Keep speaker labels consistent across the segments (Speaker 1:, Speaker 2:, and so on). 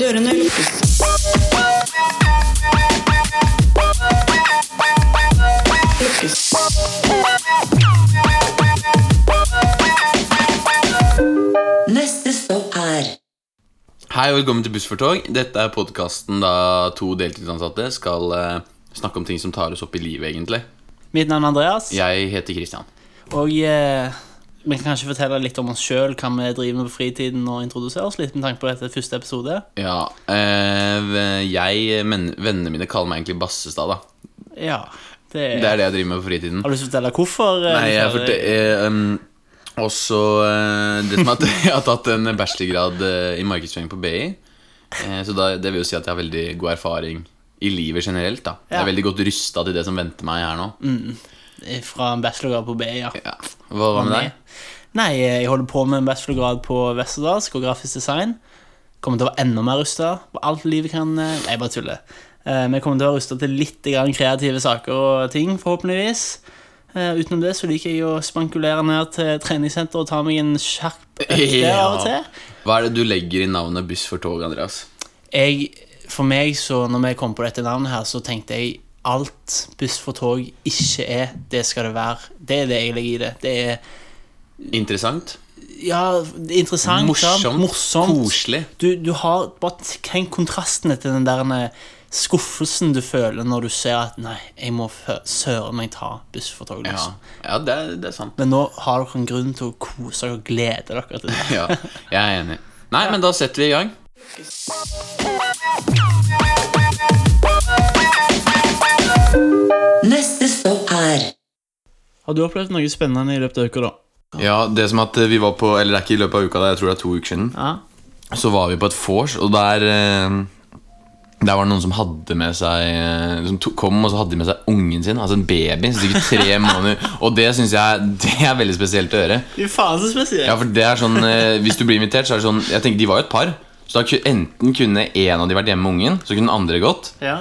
Speaker 1: Dørene lukkes. Lukkes.
Speaker 2: Neste stopp er
Speaker 3: Hei og velkommen til Buss for tog. Dette er podkasten da to deltidsansatte skal eh, snakke om ting som tar oss opp i livet, egentlig.
Speaker 4: Mitt navn er Andreas,
Speaker 3: Jeg heter Christian.
Speaker 4: og eh, vi kan kanskje fortelle litt om oss sjøl, hva vi driver med på fritiden, og introdusere oss litt med tanke på dette første episode.
Speaker 3: Ja, eh, jeg, men, Vennene mine kaller meg egentlig Bassestad, da.
Speaker 4: Ja, det,
Speaker 3: Det er det jeg driver med på fritiden.
Speaker 4: Har du lyst til å fortelle hvorfor? eh,
Speaker 3: Nei, jeg
Speaker 4: kjære?
Speaker 3: forte- eh, um, også eh, det som er at jeg har tatt en bachelorgrad eh, i markedsføring på BI. Eh, så da, det vil jo si at jeg har veldig god erfaring i livet generelt. da Jeg
Speaker 4: Ja.
Speaker 3: er veldig godt rusta til det som venter meg her nå.
Speaker 4: Eh, Fra en bachelorgrad på BI, ja.
Speaker 3: Ja. Hva, hva med deg?
Speaker 4: Nei, jeg holder på med en bachelorgrad på Westerdals og grafisk design. Kommer til å være enda mer rusta på alt livet kan Nei, jeg bare tuller. Eh, Vi kommer til å være rusta til litt grann kreative saker og ting, forhåpentligvis. Eh, Utenom det så liker jeg å spankulere ned til treningssenteret og ta meg en skjerp økt der av og til.
Speaker 3: Hva er det du legger i navnet Buss for tog, Andreas?
Speaker 4: jeg, for meg, så når vi kom på dette navnet her, så tenkte jeg alt buss for tog ikke er, det skal det være. Det er det jeg legger i det. Det er
Speaker 3: Interessant?
Speaker 4: ja, det er interessant.
Speaker 3: Morsomt,
Speaker 4: sant? Morsomt.
Speaker 3: koselig.
Speaker 4: Du, du har bare tenk kontrastene til den der eh, skuffelsen du føler når du ser at nei, jeg må fø- søren meg ta buss for tog.
Speaker 3: Ja,
Speaker 4: liksom.
Speaker 3: ja det, er, det er sant.
Speaker 4: Men nå har dere en grunn til å kose dere og glede dere til det.
Speaker 3: Ja, jeg er enig. Nei, men da setter vi i gang.
Speaker 2: Neste stopp er
Speaker 4: Har du opplevd noe spennende i løpet av uka, da?
Speaker 3: Ja, det som at eh, vi var på Eller det er ikke i løpet av uka, det er- jeg tror det er to uker siden.
Speaker 4: Ja.
Speaker 3: så var vi på et vors, og der eh, Der var det noen som hadde med seg eh, Som to- kom og så hadde de med seg ungen sin, altså en baby, som sikkert tre måneder. Og det syns jeg det er veldig spesielt å gjøre.
Speaker 4: Fy faen, så spesielt.
Speaker 3: Ja, for det er sånn eh, Hvis du blir invitert, så er det sånn Jeg tenker, De var jo et par. Så da ku- enten kunne en av de vært hjemme med ungen, så kunne den andre gått.
Speaker 4: Ja.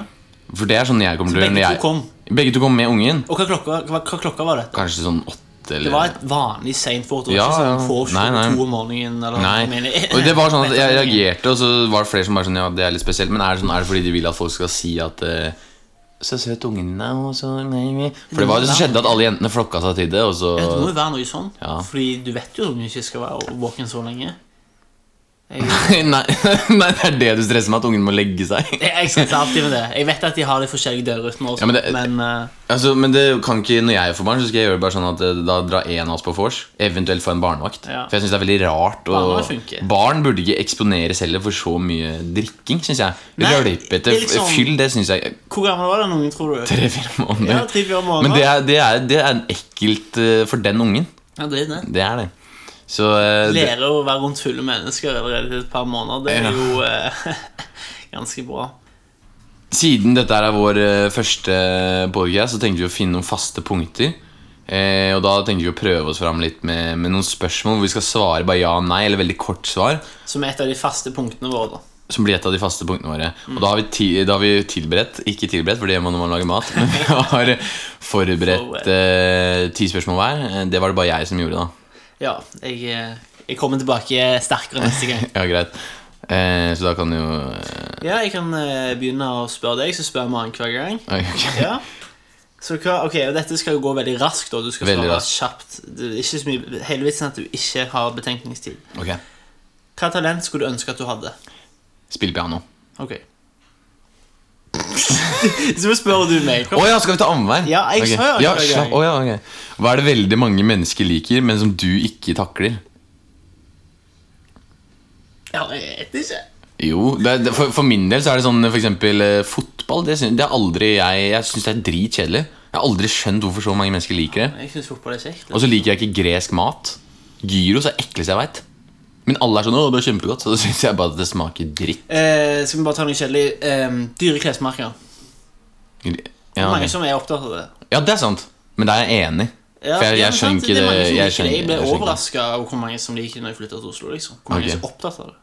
Speaker 3: For det er sånn jeg kommer til å gjøre.
Speaker 4: Begge
Speaker 3: når
Speaker 4: to
Speaker 3: jeg-
Speaker 4: kom.
Speaker 3: Begge to kom med ungen.
Speaker 4: Og hva klokka, hva, hva klokka var det?
Speaker 3: Kanskje sånn åtte eller
Speaker 4: Det var et vanlig seint fort.
Speaker 3: Ja,
Speaker 4: Ja, ja.
Speaker 3: ja. Nei, nei.
Speaker 4: Sånn, om morgenen eller jeg
Speaker 3: Nei.
Speaker 4: mener-
Speaker 3: Og det var sånn at jeg reagerte, og så var det flere som bare sånn Ja, det er litt spesielt, men er det, sånn, er det fordi de vil at folk skal si at eh, Så søt ungen din er, og så nei, nei. For det var det som skjedde, at alle jentene flokka seg til det, og så
Speaker 4: Ja, Det må jo være noe sånn,
Speaker 3: Ja.
Speaker 4: Fordi du vet jo at ungen ikke skal være våken så lenge.
Speaker 3: Nei, nei, det er det du stresser med, at ungen må legge seg.
Speaker 4: Jeg, jeg skal ta alltid med det Jeg vet at de har de forskjellige dørrytmer, også,
Speaker 3: Ja, men det-
Speaker 4: men eh,
Speaker 3: Altså, men det kan ikke, Når jeg får barn, så skal jeg gjøre det bare sånn at eh, da drar en av oss på vors. Eventuelt få en barnevakt.
Speaker 4: Ja.
Speaker 3: For jeg syns det er veldig rart.
Speaker 4: Barnevakt
Speaker 3: Og
Speaker 4: funker.
Speaker 3: barn burde ikke eksponeres heller for så mye drikking, syns jeg.
Speaker 4: Nei,
Speaker 3: Rølpete
Speaker 4: det er liksom-
Speaker 3: fyll, det syns jeg
Speaker 4: hvor gammel var den ungen, tror du?
Speaker 3: Tre-fire måneder.
Speaker 4: Ja, tre-fire måneder.
Speaker 3: Men det er, det, er, det er en ekkelt eh, for den ungen.
Speaker 4: Ja, det er det.
Speaker 3: Det er det. Så eh, det,
Speaker 4: Lære å være rundt fulle mennesker allerede til et par måneder, det
Speaker 3: Ja.
Speaker 4: er jo eh, ganske bra.
Speaker 3: siden dette her er vår eh, første podcast, så tenkte vi å finne noen faste punkter. Eh, og da tenkte vi å prøve oss fram litt med, med noen spørsmål hvor vi skal svare bare ja og nei, eller veldig kort svar.
Speaker 4: Som er et av de faste punktene våre. da
Speaker 3: Som blir et av de faste punktene våre. Og da har vi, ti, da har vi tilberedt Ikke tilberedt, for det gjør man når man lager mat. Men vi har forberedt eh, ti spørsmål hver. Eh, Det var det bare jeg som gjorde, da.
Speaker 4: Ja, jeg, eh, jeg kommer tilbake sterkere neste gang.
Speaker 3: Ja, greit. Eh, så da kan du jo eh,
Speaker 4: Ja, jeg kan eh, begynne å spørre deg, så spør vi annenhver gang.
Speaker 3: oi, eh, ok.
Speaker 4: Ja. Så hva, ok, og Dette skal jo gå veldig raskt, og du skal
Speaker 3: Veldig
Speaker 4: svare
Speaker 3: raskt.
Speaker 4: kjapt. Det er ikke så mye, hele vitsen er at du ikke har betenkningstid.
Speaker 3: ok.
Speaker 4: Hva talent skulle du ønske at du hadde?
Speaker 3: Spill piano.
Speaker 4: Ok. så spør du meg.
Speaker 3: Å ja, skal vi ta annenhver?
Speaker 4: Ja, jeg
Speaker 3: Ok.
Speaker 4: sa jo
Speaker 3: ja,
Speaker 4: ikke det.
Speaker 3: slapp- å ja, ok. Hva er det veldig mange mennesker liker, men som du ikke takler?
Speaker 4: Ja, jeg vet ikke.
Speaker 3: Jo, det, er- det, for, for min del så er det sånn for eksempel eh, fotball. Det, syns- det er aldri jeg Jeg syns det er dritkjedelig. Jeg har aldri skjønt hvorfor så mange mennesker liker det.
Speaker 4: Jeg syns fotball er kjekt.
Speaker 3: Og så liker jeg ikke gresk mat. Gyros er ekleste jeg veit. Men alle er sånn 'Å, det er kjempegodt', så da syns jeg bare at det smaker dritt.
Speaker 4: Eh, skal vi bare ta noe kjedelig? Eh, dyre klesmerker. Det
Speaker 3: Ja,
Speaker 4: er
Speaker 3: ok.
Speaker 4: mange som er opptatt av det.
Speaker 3: Ja, det er sant. Men der er jeg enig.
Speaker 4: Ja,
Speaker 3: For jeg,
Speaker 4: ja,
Speaker 3: jeg
Speaker 4: men
Speaker 3: skjønner
Speaker 4: sant,
Speaker 3: ikke det.
Speaker 4: er mange
Speaker 3: Jeg
Speaker 4: som liker det. Jeg ble
Speaker 3: skjønner, jeg skjønner.
Speaker 4: overraska over hvor mange som liker det når jeg flytta til Oslo. liksom Hvor mange
Speaker 3: Ok.
Speaker 4: som er opptatt av det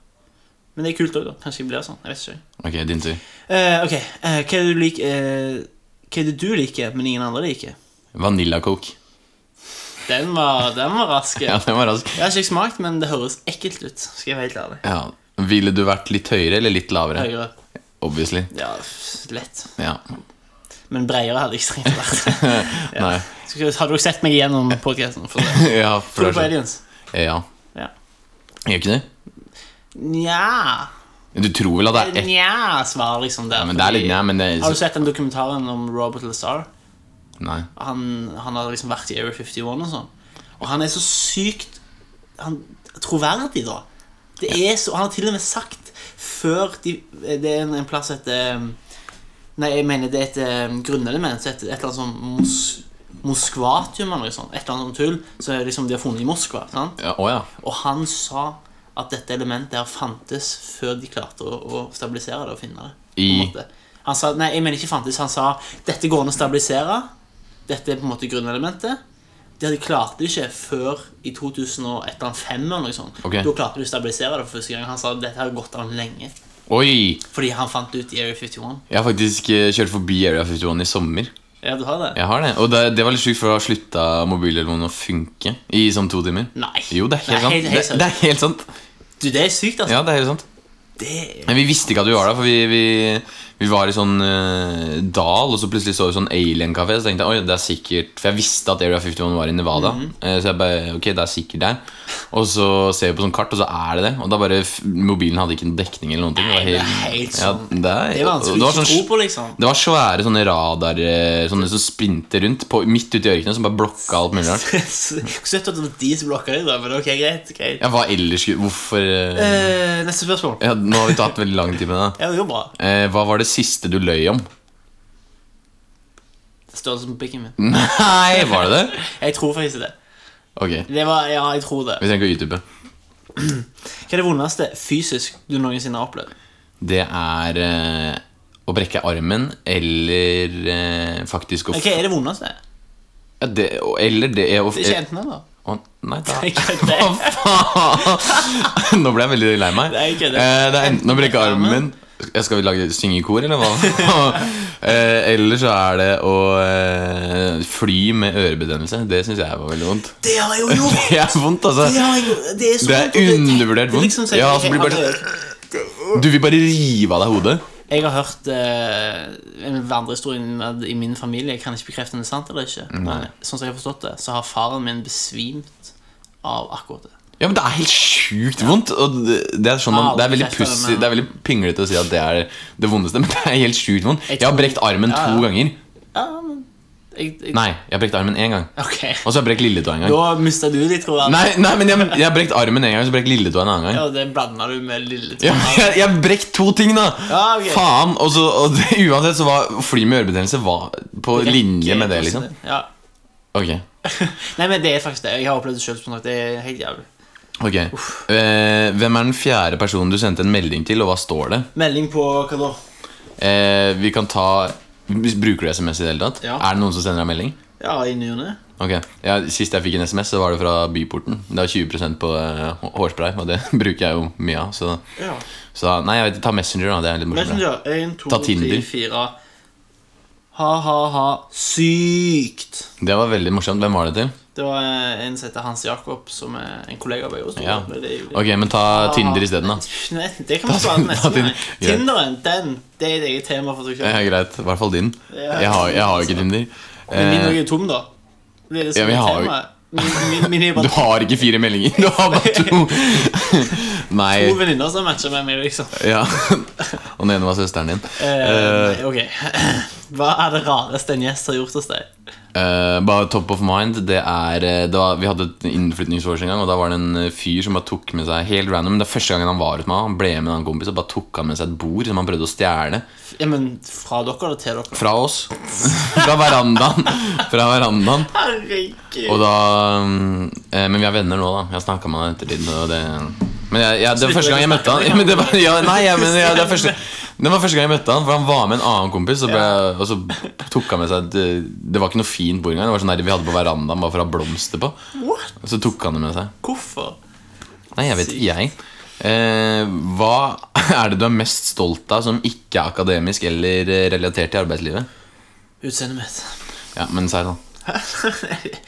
Speaker 4: Men det er kult òg, da. Kanskje jeg blir sånn. Jeg vet ikke.
Speaker 3: Ok, din tur.
Speaker 4: Eh, ok, eh, hva, er det du lik, eh, hva er det du liker, men ingen andre liker?
Speaker 3: Vanilla Coke.
Speaker 4: Den var, den var rask.
Speaker 3: Ja,
Speaker 4: Jeg
Speaker 3: den var rask.
Speaker 4: har ikke smakt, men det høres ekkelt ut. Skal jeg være helt ærlig
Speaker 3: Ja. Ville du vært litt høyere eller litt lavere?
Speaker 4: Høyere.
Speaker 3: Obviously.
Speaker 4: Ja, f- lett.
Speaker 3: Ja.
Speaker 4: Men bredere hadde jeg ikke trengt å være.
Speaker 3: Nei.
Speaker 4: Skal- Har du sett meg igjennom podkasten? Tror
Speaker 3: Ja, for
Speaker 4: du på
Speaker 3: det er
Speaker 4: aliens?
Speaker 3: så- ja.
Speaker 4: Ja.
Speaker 3: Gjør ikke det?
Speaker 4: Nja
Speaker 3: Du tror vel at det er ett
Speaker 4: Nja, svarer liksom der.
Speaker 3: ja, Men det er litt ja, men det
Speaker 4: Har du
Speaker 3: er,
Speaker 4: sett den dokumentaren om Robert LaSar?
Speaker 3: Nei.
Speaker 4: Han, han har liksom vært i Area 51 og sånn. Og han er så sykt han, troverdig, da. Det er så, han har til og med sagt før de, Det er en, en plass et Nei, jeg mener det er et eh, grunnelement. så Et, et eller annet sånn mos, Moskvatium eller noe sånt. Et eller annet sånt tull. Så er det liksom de har funnet i Moskva. sant?
Speaker 3: Ja, Å ja.
Speaker 4: Og han sa at dette elementet her fantes før de klarte å, å stabilisere det og finne det. på en
Speaker 3: I-
Speaker 4: måte. Han sa, nei, jeg mener ikke fantes, han sa dette går an å stabilisere. Dette er på en måte grunnelementet. De hadde klart det ikke før i 2005 eller noe sånt.
Speaker 3: Ok.
Speaker 4: Da klarte de å stabilisere det for første gang. Han sa dette har gått an lenge.
Speaker 3: Oi!
Speaker 4: Fordi han fant det ut i Area 51.
Speaker 3: Jeg har faktisk eh, kjørt forbi Area 51 i sommer.
Speaker 4: Ja, du har det?
Speaker 3: Jeg har det, Og det, det var litt sjukt, for da slutta mobiltelefonen å funke i sånn to timer.
Speaker 4: Nei.
Speaker 3: Jo, det er helt sant.
Speaker 4: Helt, helt,
Speaker 3: det, det er helt sant.
Speaker 4: Du, det er sykt, altså.
Speaker 3: Ja, det er helt sant.
Speaker 4: Det er
Speaker 3: Men vi visste ikke at vi var der, for vi, vi, vi var i sånn eh, dal, og så plutselig så vi sånn alien-kafé, så tenkte jeg oi, det er sikkert For jeg visste at Area 51 var i Nevada,
Speaker 4: Mhm.
Speaker 3: eh, så jeg bare ok, det er sikkert der. Og så ser vi på sånn kart, og så er det det. Og da bare f Mobilen hadde ikke noen dekning eller noen ting.
Speaker 4: Nei, det er helt sånn-
Speaker 3: ja, det, er,
Speaker 4: det er
Speaker 3: og
Speaker 4: vanskelig å
Speaker 3: var
Speaker 4: ikke
Speaker 3: sånn-
Speaker 4: tro på, liksom.
Speaker 3: Det var svære sånne radar eh, Sånne som sprinter rundt på, midt ute i ørkenen, som bare blokka alt mulig rart.
Speaker 4: Søtt at det var de som blokka deg, da. Men ok, greit. greit.
Speaker 3: Ja, hva ellers skulle Hvorfor eh,
Speaker 4: Eh, neste spørsmål.
Speaker 3: ja, Nå har vi tatt veldig lang tid med det. da.
Speaker 4: Ja, det går bra.
Speaker 3: Eh, hva var det siste du løy om?
Speaker 4: Størrelsen på pikken min.
Speaker 3: Nei, var det det?
Speaker 4: Jeg tror faktisk det.
Speaker 3: Ok, vi
Speaker 4: det var, ja, jeg tror det.
Speaker 3: trenger ikke å utdype.
Speaker 4: Hva er det vondeste fysisk du noensinne har opplevd?
Speaker 3: Det er eh, å brekke armen eller eh, faktisk å f-
Speaker 4: Ok, er det vondeste?
Speaker 3: ja, det, og- Eller det å f-
Speaker 4: Det er ikke enten eller?
Speaker 3: Å, Nei, da
Speaker 4: Jeg kødder.
Speaker 3: faen! Nå ble jeg veldig lei meg.
Speaker 4: Nei, ikke det.
Speaker 3: Eh, det er enten å brekke armen jeg Skal vi lage synge i kor, eller hva? eh, eller så er det å eh, fly med ørebetennelse. Det syns jeg var veldig vondt.
Speaker 4: Det har jeg jo gjort!
Speaker 3: Det er vondt, altså.
Speaker 4: Det, har jeg, gjort. det er så
Speaker 3: Det
Speaker 4: vondt, og
Speaker 3: er undervurdert
Speaker 4: det er liksom
Speaker 3: vondt.
Speaker 4: sånn-
Speaker 3: Ja, så blir det bare sånn Du vil bare rive av deg hodet.
Speaker 4: Jeg har hørt eh, en vandrehistorie innad i min familie. Jeg kan ikke bekrefte om det er sant eller ikke. Men sånn som jeg har forstått det, så har faren min besvimt av akkurat det.
Speaker 3: Ja, men Det er helt sjukt vondt. Og det, det er sånn man,
Speaker 4: Ja,
Speaker 3: det er veldig
Speaker 4: det er sånn,
Speaker 3: pussig
Speaker 4: ja.
Speaker 3: Det er veldig pinglete å si at det er det vondeste, men det er helt sjukt vondt.
Speaker 4: Jeg
Speaker 3: Jeg har
Speaker 4: tror-
Speaker 3: brekt armen
Speaker 4: Ja, ja.
Speaker 3: to ganger.
Speaker 4: Ja, men jeg, jeg,
Speaker 3: Nei, jeg har brekt armen én gang.
Speaker 4: Ok.
Speaker 3: Og så har jeg brekt lilletåa en gang.
Speaker 4: Da mista du ditt, tror jeg.
Speaker 3: Nei, nei, men jeg, jeg har brekt armen en gang, så har jeg brekt lilletåa en annen gang.
Speaker 4: Ja, det blanda du med lille
Speaker 3: Ja, jeg, jeg har brekt to ting, da!
Speaker 4: Ja, ok.
Speaker 3: Faen! Og, så, og det, uansett så var fly med ørebetennelse var på linje med det, liksom.
Speaker 4: Ja.
Speaker 3: Ok.
Speaker 4: Nei, men det er faktisk det. Jeg har opplevd det sjøl. sånn at Det er helt jævlig.
Speaker 3: ok eh, Hvem er den fjerde personen du sendte en melding til, og hva står det?
Speaker 4: Melding på hva da?
Speaker 3: Eh, vi kan ta Bruker du SMS i det hele tatt?
Speaker 4: Ja.
Speaker 3: Er det noen som sender deg melding?
Speaker 4: Ja, i ny og ne.
Speaker 3: Ok, ja, Sist jeg fikk en SMS, så var det fra Byporten. Det var 20 på eh, hå- hårspray, og det bruker jeg jo mye av. Så,
Speaker 4: Ja.
Speaker 3: så da- nei, jeg vet, ta Messenger, da. Det er litt morsommere.
Speaker 4: Messenger. Én, to,
Speaker 3: Ta
Speaker 4: tre,
Speaker 3: Tinder.
Speaker 4: fire. Ha-ha-ha. Sykt!
Speaker 3: Det var veldig morsomt. Hvem var det til?
Speaker 4: Det var eh, en som heter Hans Jakob, som er en kollega av meg. Også,
Speaker 3: Ja.
Speaker 4: men det er jo litt-
Speaker 3: Ok, men ta Tinder isteden, da.
Speaker 4: Nei, det kan vi svare på
Speaker 3: ta
Speaker 4: neste gang.
Speaker 3: Tinder. Greit.
Speaker 4: Tinderen, den, det sånn. er et eget tema for seg
Speaker 3: Ja,
Speaker 4: selv.
Speaker 3: greit. I hvert fall din.
Speaker 4: Ja.
Speaker 3: Jeg har, jeg har jo ikke Tinder.
Speaker 4: Men min
Speaker 3: Eh,
Speaker 4: er jo tom, da. Det er det
Speaker 3: Ja,
Speaker 4: som
Speaker 3: vi
Speaker 4: er
Speaker 3: har jo-
Speaker 4: temaet. Min, min, min er
Speaker 3: du
Speaker 4: bare
Speaker 3: har ikke fire meldinger, du har bare to! Nei.
Speaker 4: to venninner som matcher med meg, liksom.
Speaker 3: Ja. Og den ene var søsteren din.
Speaker 4: Eh, nei, ok Hva er det rareste en gjest har gjort hos deg?
Speaker 3: Eh, bare top of mind Det er eh, det var, Vi hadde et innflytningsårs en gang, og da var det en eh, fyr som bare tok med seg Helt random. Det er første gangen han var hos meg. Han ble med en annen kompis og bare tok han med seg et bord som han prøvde å stjele
Speaker 4: Ja, men Fra dere eller til dere?
Speaker 3: fra oss. fra verandaen. Fra verandaen. Og
Speaker 4: Herregud.
Speaker 3: da mm, eh, Men vi er venner nå, da. Jeg snakka med han i ettertid. Og det, men jeg, jeg, det var første gang jeg møtte han. Ja, men det var, ja, nei, jeg, men, ja, det, er første, det var første gang jeg møtte han, for han var med en annen kompis. Og, ble, og så tok han med seg Det, det var ikke noe fint bord engang. Det var sånn der vi hadde på verandaen bare for å ha blomster på.
Speaker 4: What?
Speaker 3: Og så tok han det med seg.
Speaker 4: Hvorfor?
Speaker 3: Nei, jeg vet ikke, jeg. Eh, hva er det du er mest stolt av som ikke er akademisk eller eh, relatert til arbeidslivet?
Speaker 4: Utseendet mitt.
Speaker 3: Ja, men si det, da.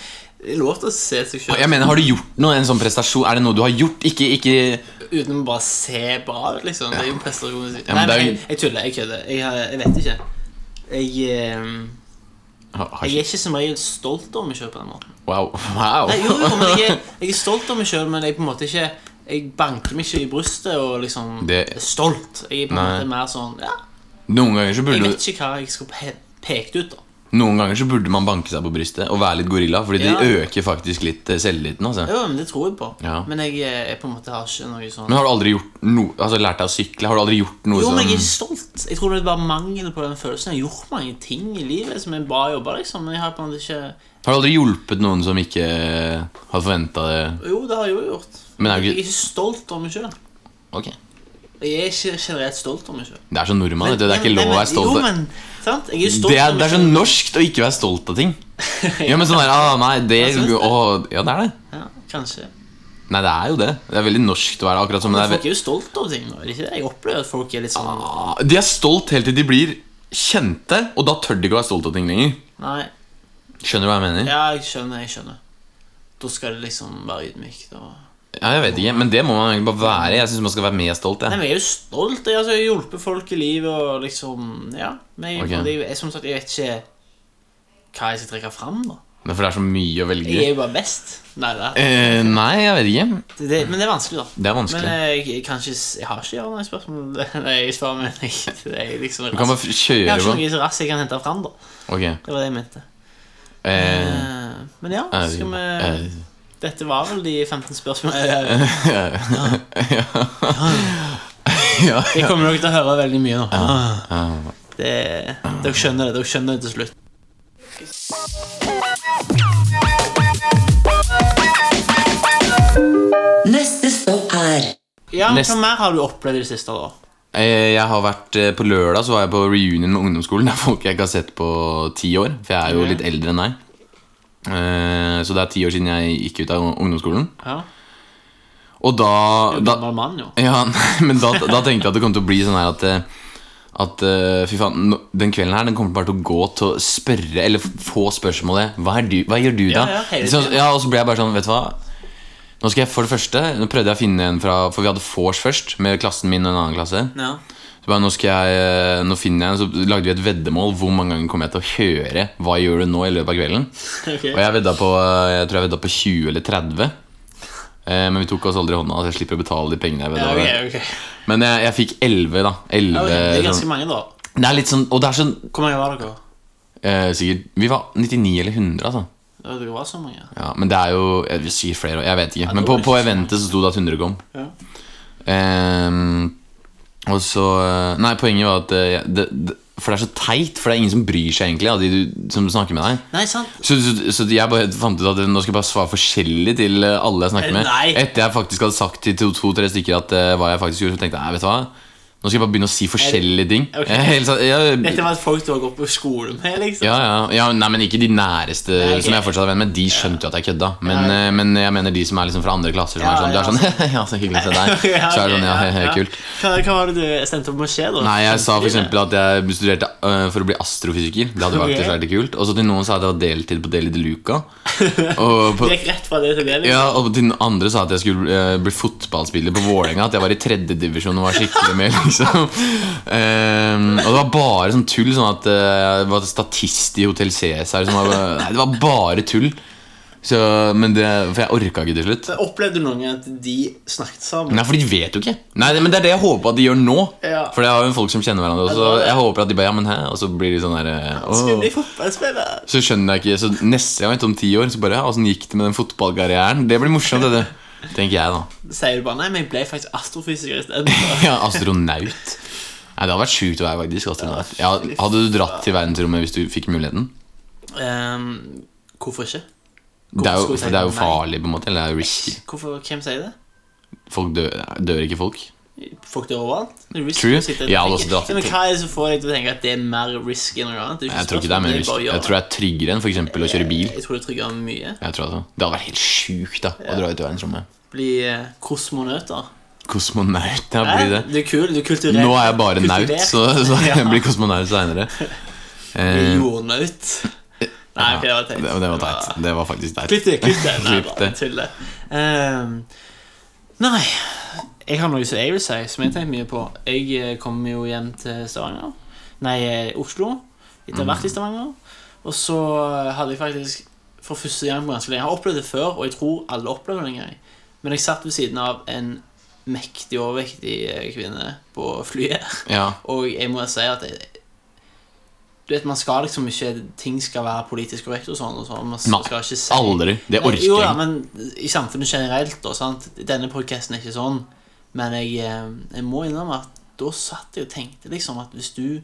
Speaker 4: Det er lov til å se seg sjøl.
Speaker 3: Jeg mener, Har du gjort noe? En sånn prestasjon? Er det noe du har gjort? Ikke, ikke
Speaker 4: uten å bare se bra ut, liksom. Det er jo beste å si.
Speaker 3: Ja, men det
Speaker 4: Nei, men
Speaker 3: er jo-
Speaker 4: jeg, jeg tuller. Jeg kødder. Jeg, har- jeg vet ikke. Jeg, ehm,
Speaker 3: Har, har
Speaker 4: jeg er
Speaker 3: ikke
Speaker 4: ikke som regel stolt over meg sjøl på den måten.
Speaker 3: Wow. wow.
Speaker 4: Nei, jo, jo, men jeg, er- jeg er stolt av meg sjøl, men jeg er på en måte ikke Jeg banker meg ikke i brystet og liksom
Speaker 3: Det-
Speaker 4: er stolt. Jeg er på en
Speaker 3: Nei.
Speaker 4: måte mer sånn Ja,
Speaker 3: Noen ganger så
Speaker 4: jeg
Speaker 3: burde du
Speaker 4: vet ikke hva jeg skal pe peke ut, da.
Speaker 3: Noen ganger så burde man banke seg på brystet og være litt gorilla, fordi
Speaker 4: Ja.
Speaker 3: det øker faktisk litt eh, selvtilliten. Altså.
Speaker 4: Jo, men det tror jeg på.
Speaker 3: Ja.
Speaker 4: Men jeg, eh, jeg på en måte har ikke noe sånn
Speaker 3: Men har du aldri gjort noe Altså lært deg å sykle? Har du sånn- aldri gjort noe
Speaker 4: Jo, men jeg er
Speaker 3: som
Speaker 4: ikke stolt. Jeg tror det er bare mangel på den følelsen. Jeg har gjort mange ting i livet som er bra jobba, liksom. Men jeg har på en måte ikke
Speaker 3: Har du aldri hjulpet noen som ikke eh, hadde forventa det?
Speaker 4: Jo, det har jeg jo gjort.
Speaker 3: Men er du
Speaker 4: jeg
Speaker 3: ikke-
Speaker 4: er ikke stolt av meg sjøl.
Speaker 3: Ok
Speaker 4: Jeg er ikke generelt stolt av meg sjøl.
Speaker 3: Det er så nordmann, vet du. Det er ikke lov å være stolt
Speaker 4: Jo,
Speaker 3: av
Speaker 4: men sant? Jeg er jo stolt
Speaker 3: det er,
Speaker 4: av
Speaker 3: det
Speaker 4: meg
Speaker 3: er så
Speaker 4: selv.
Speaker 3: norskt å ikke være stolt av ting. Ja, men sånn der, ah, nei, det,
Speaker 4: Jeg synes det.
Speaker 3: å, Ja, det er det.
Speaker 4: Ja, kanskje.
Speaker 3: Nei, det er jo det. Det er veldig norskt å være akkurat som
Speaker 4: Men
Speaker 3: det er.
Speaker 4: folk er jo stolt over ting nå. er det ikke det? Jeg opplever at folk er litt sånn
Speaker 3: ve- De er stolt helt til de blir kjente, og da tør de ikke å være stolt av ting lenger.
Speaker 4: Nei,
Speaker 3: Skjønner du hva jeg mener?
Speaker 4: ja, jeg skjønner, jeg skjønner. Da skal det liksom være ydmykt og
Speaker 3: Ja, jeg vet ikke, men det må man egentlig bare være. Jeg synes man skal være mer stolt.
Speaker 4: Nei,
Speaker 3: Jeg.
Speaker 4: men jeg er jo stolt. Jeg, altså, jeg har hjulpet folk i livet og liksom Ja. Men jeg,
Speaker 3: Ok.
Speaker 4: men jeg, jeg, som sagt, jeg vet ikke hva jeg skal trekke fram, da.
Speaker 3: Men For det er så mye å velge
Speaker 4: Jeg er
Speaker 3: i.
Speaker 4: jo bare best. Nei, det,
Speaker 3: Eh, nei, jeg vet ikke.
Speaker 4: er- det, men det er vanskelig, da.
Speaker 3: Det er vanskelig.
Speaker 4: Men eh, jeg, jeg, kan ikke s- jeg har ikke gjort noe spørsmål. Nei, jeg svarer meg ikke. Det er
Speaker 3: Du
Speaker 4: liksom
Speaker 3: kan
Speaker 4: raskt.
Speaker 3: bare f-
Speaker 4: Jeg
Speaker 3: kjøre
Speaker 4: har
Speaker 3: på.
Speaker 4: ikke noe så raskt jeg kan hente fram, da.
Speaker 3: Ok.
Speaker 4: Det var det jeg mente.
Speaker 3: Eh,
Speaker 4: Eh, Men ja,
Speaker 3: eh,
Speaker 4: skal vi
Speaker 3: eh,
Speaker 4: Dette var vel de 15 spørsmålene. Eh,
Speaker 3: ja.
Speaker 4: Jeg kommer nok til å høre veldig mye nå. Ah,
Speaker 3: ja.
Speaker 4: Det, dere skjønner det. Dere skjønner det til slutt.
Speaker 2: Neste stopp er
Speaker 4: Ja, men
Speaker 3: Nest-
Speaker 4: Hva mer har du opplevd i det siste? da?
Speaker 3: Eh, Jeg har vært eh, På lørdag så var jeg på reunion med ungdomsskolen. Det er folk jeg ikke har sett på ti år, for jeg er jo
Speaker 4: Ok.
Speaker 3: litt eldre enn deg. Eh, Så det er ti år siden jeg gikk ut av ungdomsskolen.
Speaker 4: Ja,
Speaker 3: Og da,
Speaker 4: du er
Speaker 3: da
Speaker 4: gammel mann, jo.
Speaker 3: Ja, nei, men da, da tenkte jeg at det kom til å bli sånn her at eh, at eh, fy faen, nå- Den kvelden her den kommer bare til å gå til å spørre Eller f- få spørsmålet Hva, er du, hva gjør du, da?
Speaker 4: Ja, ja, hele
Speaker 3: så,
Speaker 4: tiden.
Speaker 3: ja, Og så ble jeg bare sånn, vet du hva Nå skal jeg for det første Nå prøvde jeg å finne en fra For vi hadde vors først med klassen min og en annen klasse.
Speaker 4: Ja.
Speaker 3: Så bare, nå, skal jeg, eh, nå finner jeg en, Så lagde vi et veddemål. Hvor mange ganger kommer jeg til å høre 'Hva gjør du nå?' i løpet av kvelden?
Speaker 4: Ok.
Speaker 3: Og jeg vedda på eh, Jeg tror jeg vedda på 20 eller 30. Eh, men vi tok oss aldri i hånda, så jeg slipper å betale de pengene jeg vedda.
Speaker 4: Ja, ok,
Speaker 3: over.
Speaker 4: ok.
Speaker 3: Men jeg, jeg fikk 11, da. 11
Speaker 4: Ja, ok, Det er ganske
Speaker 3: sånn.
Speaker 4: mange, da.
Speaker 3: Det er litt sånn Og det er sånn
Speaker 4: Hvor mange var dere?
Speaker 3: eh, Sikkert Vi var 99 eller 100, altså.
Speaker 4: Ja, Dere var så mange.
Speaker 3: Ja, men det er jo Jeg sier flere, jeg vet ikke. Men
Speaker 4: det
Speaker 3: på,
Speaker 4: var
Speaker 3: på
Speaker 4: ikke så
Speaker 3: eventet så sto det at 100 kom.
Speaker 4: Ja.
Speaker 3: Ehm, og så Nei, poenget var at eh, det, det, For det er så teit, for det er ingen som bryr seg, egentlig, av de du, som snakker med deg.
Speaker 4: Nei, sant?
Speaker 3: Så, så, så jeg bare fant ut at nå skal jeg bare svare forskjellig til eh, alle jeg snakker med.
Speaker 4: Nei.
Speaker 3: Etter jeg faktisk hadde sagt til to- to-tre stykker at, eh, hva jeg faktisk gjorde, så tenkte jeg nei, vet du hva Nå skal jeg bare begynne å si forskjellige ting.
Speaker 4: Ok.
Speaker 3: Jeg er helt sånn- jeg,
Speaker 4: Dette var folk du har gått på skole med, liksom?
Speaker 3: ja, ja, ja, nei, men Ikke de næreste
Speaker 4: Nei, ok.
Speaker 3: som jeg fortsatt er venn med. De skjønte jo at jeg kødda. Men, eh, men jeg mener de som er liksom fra andre klasser. Som
Speaker 4: Ja,
Speaker 3: er sånn, du er sånn, ja, så hyggelig å se deg
Speaker 4: Ja,
Speaker 3: Så er det sånn, ja,
Speaker 4: ok,
Speaker 3: he- he, kult
Speaker 4: Hva, hva var det du stemte opp med å skje, da?
Speaker 3: Nei, jeg sa for
Speaker 4: Fremtiden?
Speaker 3: eksempel at jeg studerte øh, for å bli astrofysiker. Det hadde
Speaker 4: Ok.
Speaker 3: faktisk vært kult. Og så til noen sa jeg at det var deltid på Deli de Luca. Og på,
Speaker 4: Du gikk rett fra det til det? Liksom.
Speaker 3: Ja, og den andre sa at jeg skulle eh, bli fotballspiller på Vålerenga. At jeg var i tredjedivisjon og var skikkelig med, liksom. Ehm, og det var bare sånn tull. Sånn at eh, jeg var statist i Hotell Cæsar. Som var, nei, det var bare tull. Så, men det, for jeg orka ikke til slutt.
Speaker 4: Så Opplevde du noen gang at de snakket sammen?
Speaker 3: Nei, for de vet jo ikke. Nei, det- Men det er det jeg håper at de gjør nå.
Speaker 4: Ja.
Speaker 3: For det har jo folk som kjenner hverandre. Og så
Speaker 4: Ja, det er det.
Speaker 3: jeg håper at de bare, ja, men hæ? Og så blir de sånn der eh,
Speaker 4: Skulle
Speaker 3: «Åh».
Speaker 4: bli fotballspiller?
Speaker 3: Så skjønner jeg ikke Så neste gang, vet du, om ti år, så bare ja, åssen gikk det med den fotballkarrieren? Det blir morsomt, det, det. Tenker jeg, da.
Speaker 4: sier du bare Nei, men jeg ble faktisk astrofysiker isteden.
Speaker 3: Ja, astronaut. Nei, Det hadde vært sjukt å være faktisk astronaut. Ja, hadde du dratt til verdensrommet hvis du fikk muligheten?
Speaker 4: um, hvorfor ikke?
Speaker 3: Det er,
Speaker 4: skulle
Speaker 3: jo,
Speaker 4: jeg
Speaker 3: for det er jo
Speaker 4: tenke nei?
Speaker 3: farlig, på en måte. Eller det er jo risky.
Speaker 4: Hvorfor, Hvem sier det?
Speaker 3: Folk dør, dør ikke folk.
Speaker 4: Folk dør overalt. Det er risky
Speaker 3: True.
Speaker 4: å sitte og
Speaker 3: Jeg hadde
Speaker 4: tenke.
Speaker 3: også dratt-
Speaker 4: Ja, Men hva er det som får deg til å tenke at det er mer risky enn noe annet? Det
Speaker 3: Jeg tror ikke det er mer risky. Jeg tror det er tryggere enn for eksempel å kjøre bil.
Speaker 4: Jeg tror det trygger mye.
Speaker 3: Jeg tror det. det hadde vært helt sjukt da å dra ut i verdensrommet.
Speaker 4: Bli eh, kosmonauter.
Speaker 3: Kosmonaut, ja,
Speaker 4: Nei,
Speaker 3: blir det.
Speaker 4: Du er kul. Du er kulturell.
Speaker 3: Nå er jeg bare naut,
Speaker 4: Kultivert.
Speaker 3: så, så
Speaker 4: Ja.
Speaker 3: jeg blir kosmonaut seinere.
Speaker 4: Du er
Speaker 3: Eh,
Speaker 4: Jordnaut. Nei, ok, det var teit.
Speaker 3: det, det var teit. Det var faktisk teit.
Speaker 4: Klipp det, klipp det. Nei,
Speaker 3: Klipp
Speaker 4: bare
Speaker 3: det.
Speaker 4: tuller. Ehm, nei Jeg har noe som jeg vil si, som jeg har tenkt mye på. Jeg eh, kom jo hjem til Stavanger. Nei, eh, Oslo. Etter å ha vært i Stavanger. Og så hadde jeg faktisk for første gang på ganske lenge Jeg har opplevd det før, og jeg tror alle opplever det en gang. Men jeg satt ved siden av en mektig overvektig eh, kvinne på flyet.
Speaker 3: Ja.
Speaker 4: Og jeg må si at jeg, Du vet, man skal liksom ikke Ting skal være politisk korrekt og sånn. Og sånn. Man
Speaker 3: Nei,
Speaker 4: skal ikke si
Speaker 3: Aldri. Det
Speaker 4: Nei,
Speaker 3: orker
Speaker 4: Jo da,
Speaker 3: jeg.
Speaker 4: men i samfunnet generelt, da. Sant? Denne podcasten er ikke sånn. Men jeg, eh, jeg må innrømme at da satt jeg og tenkte liksom at hvis du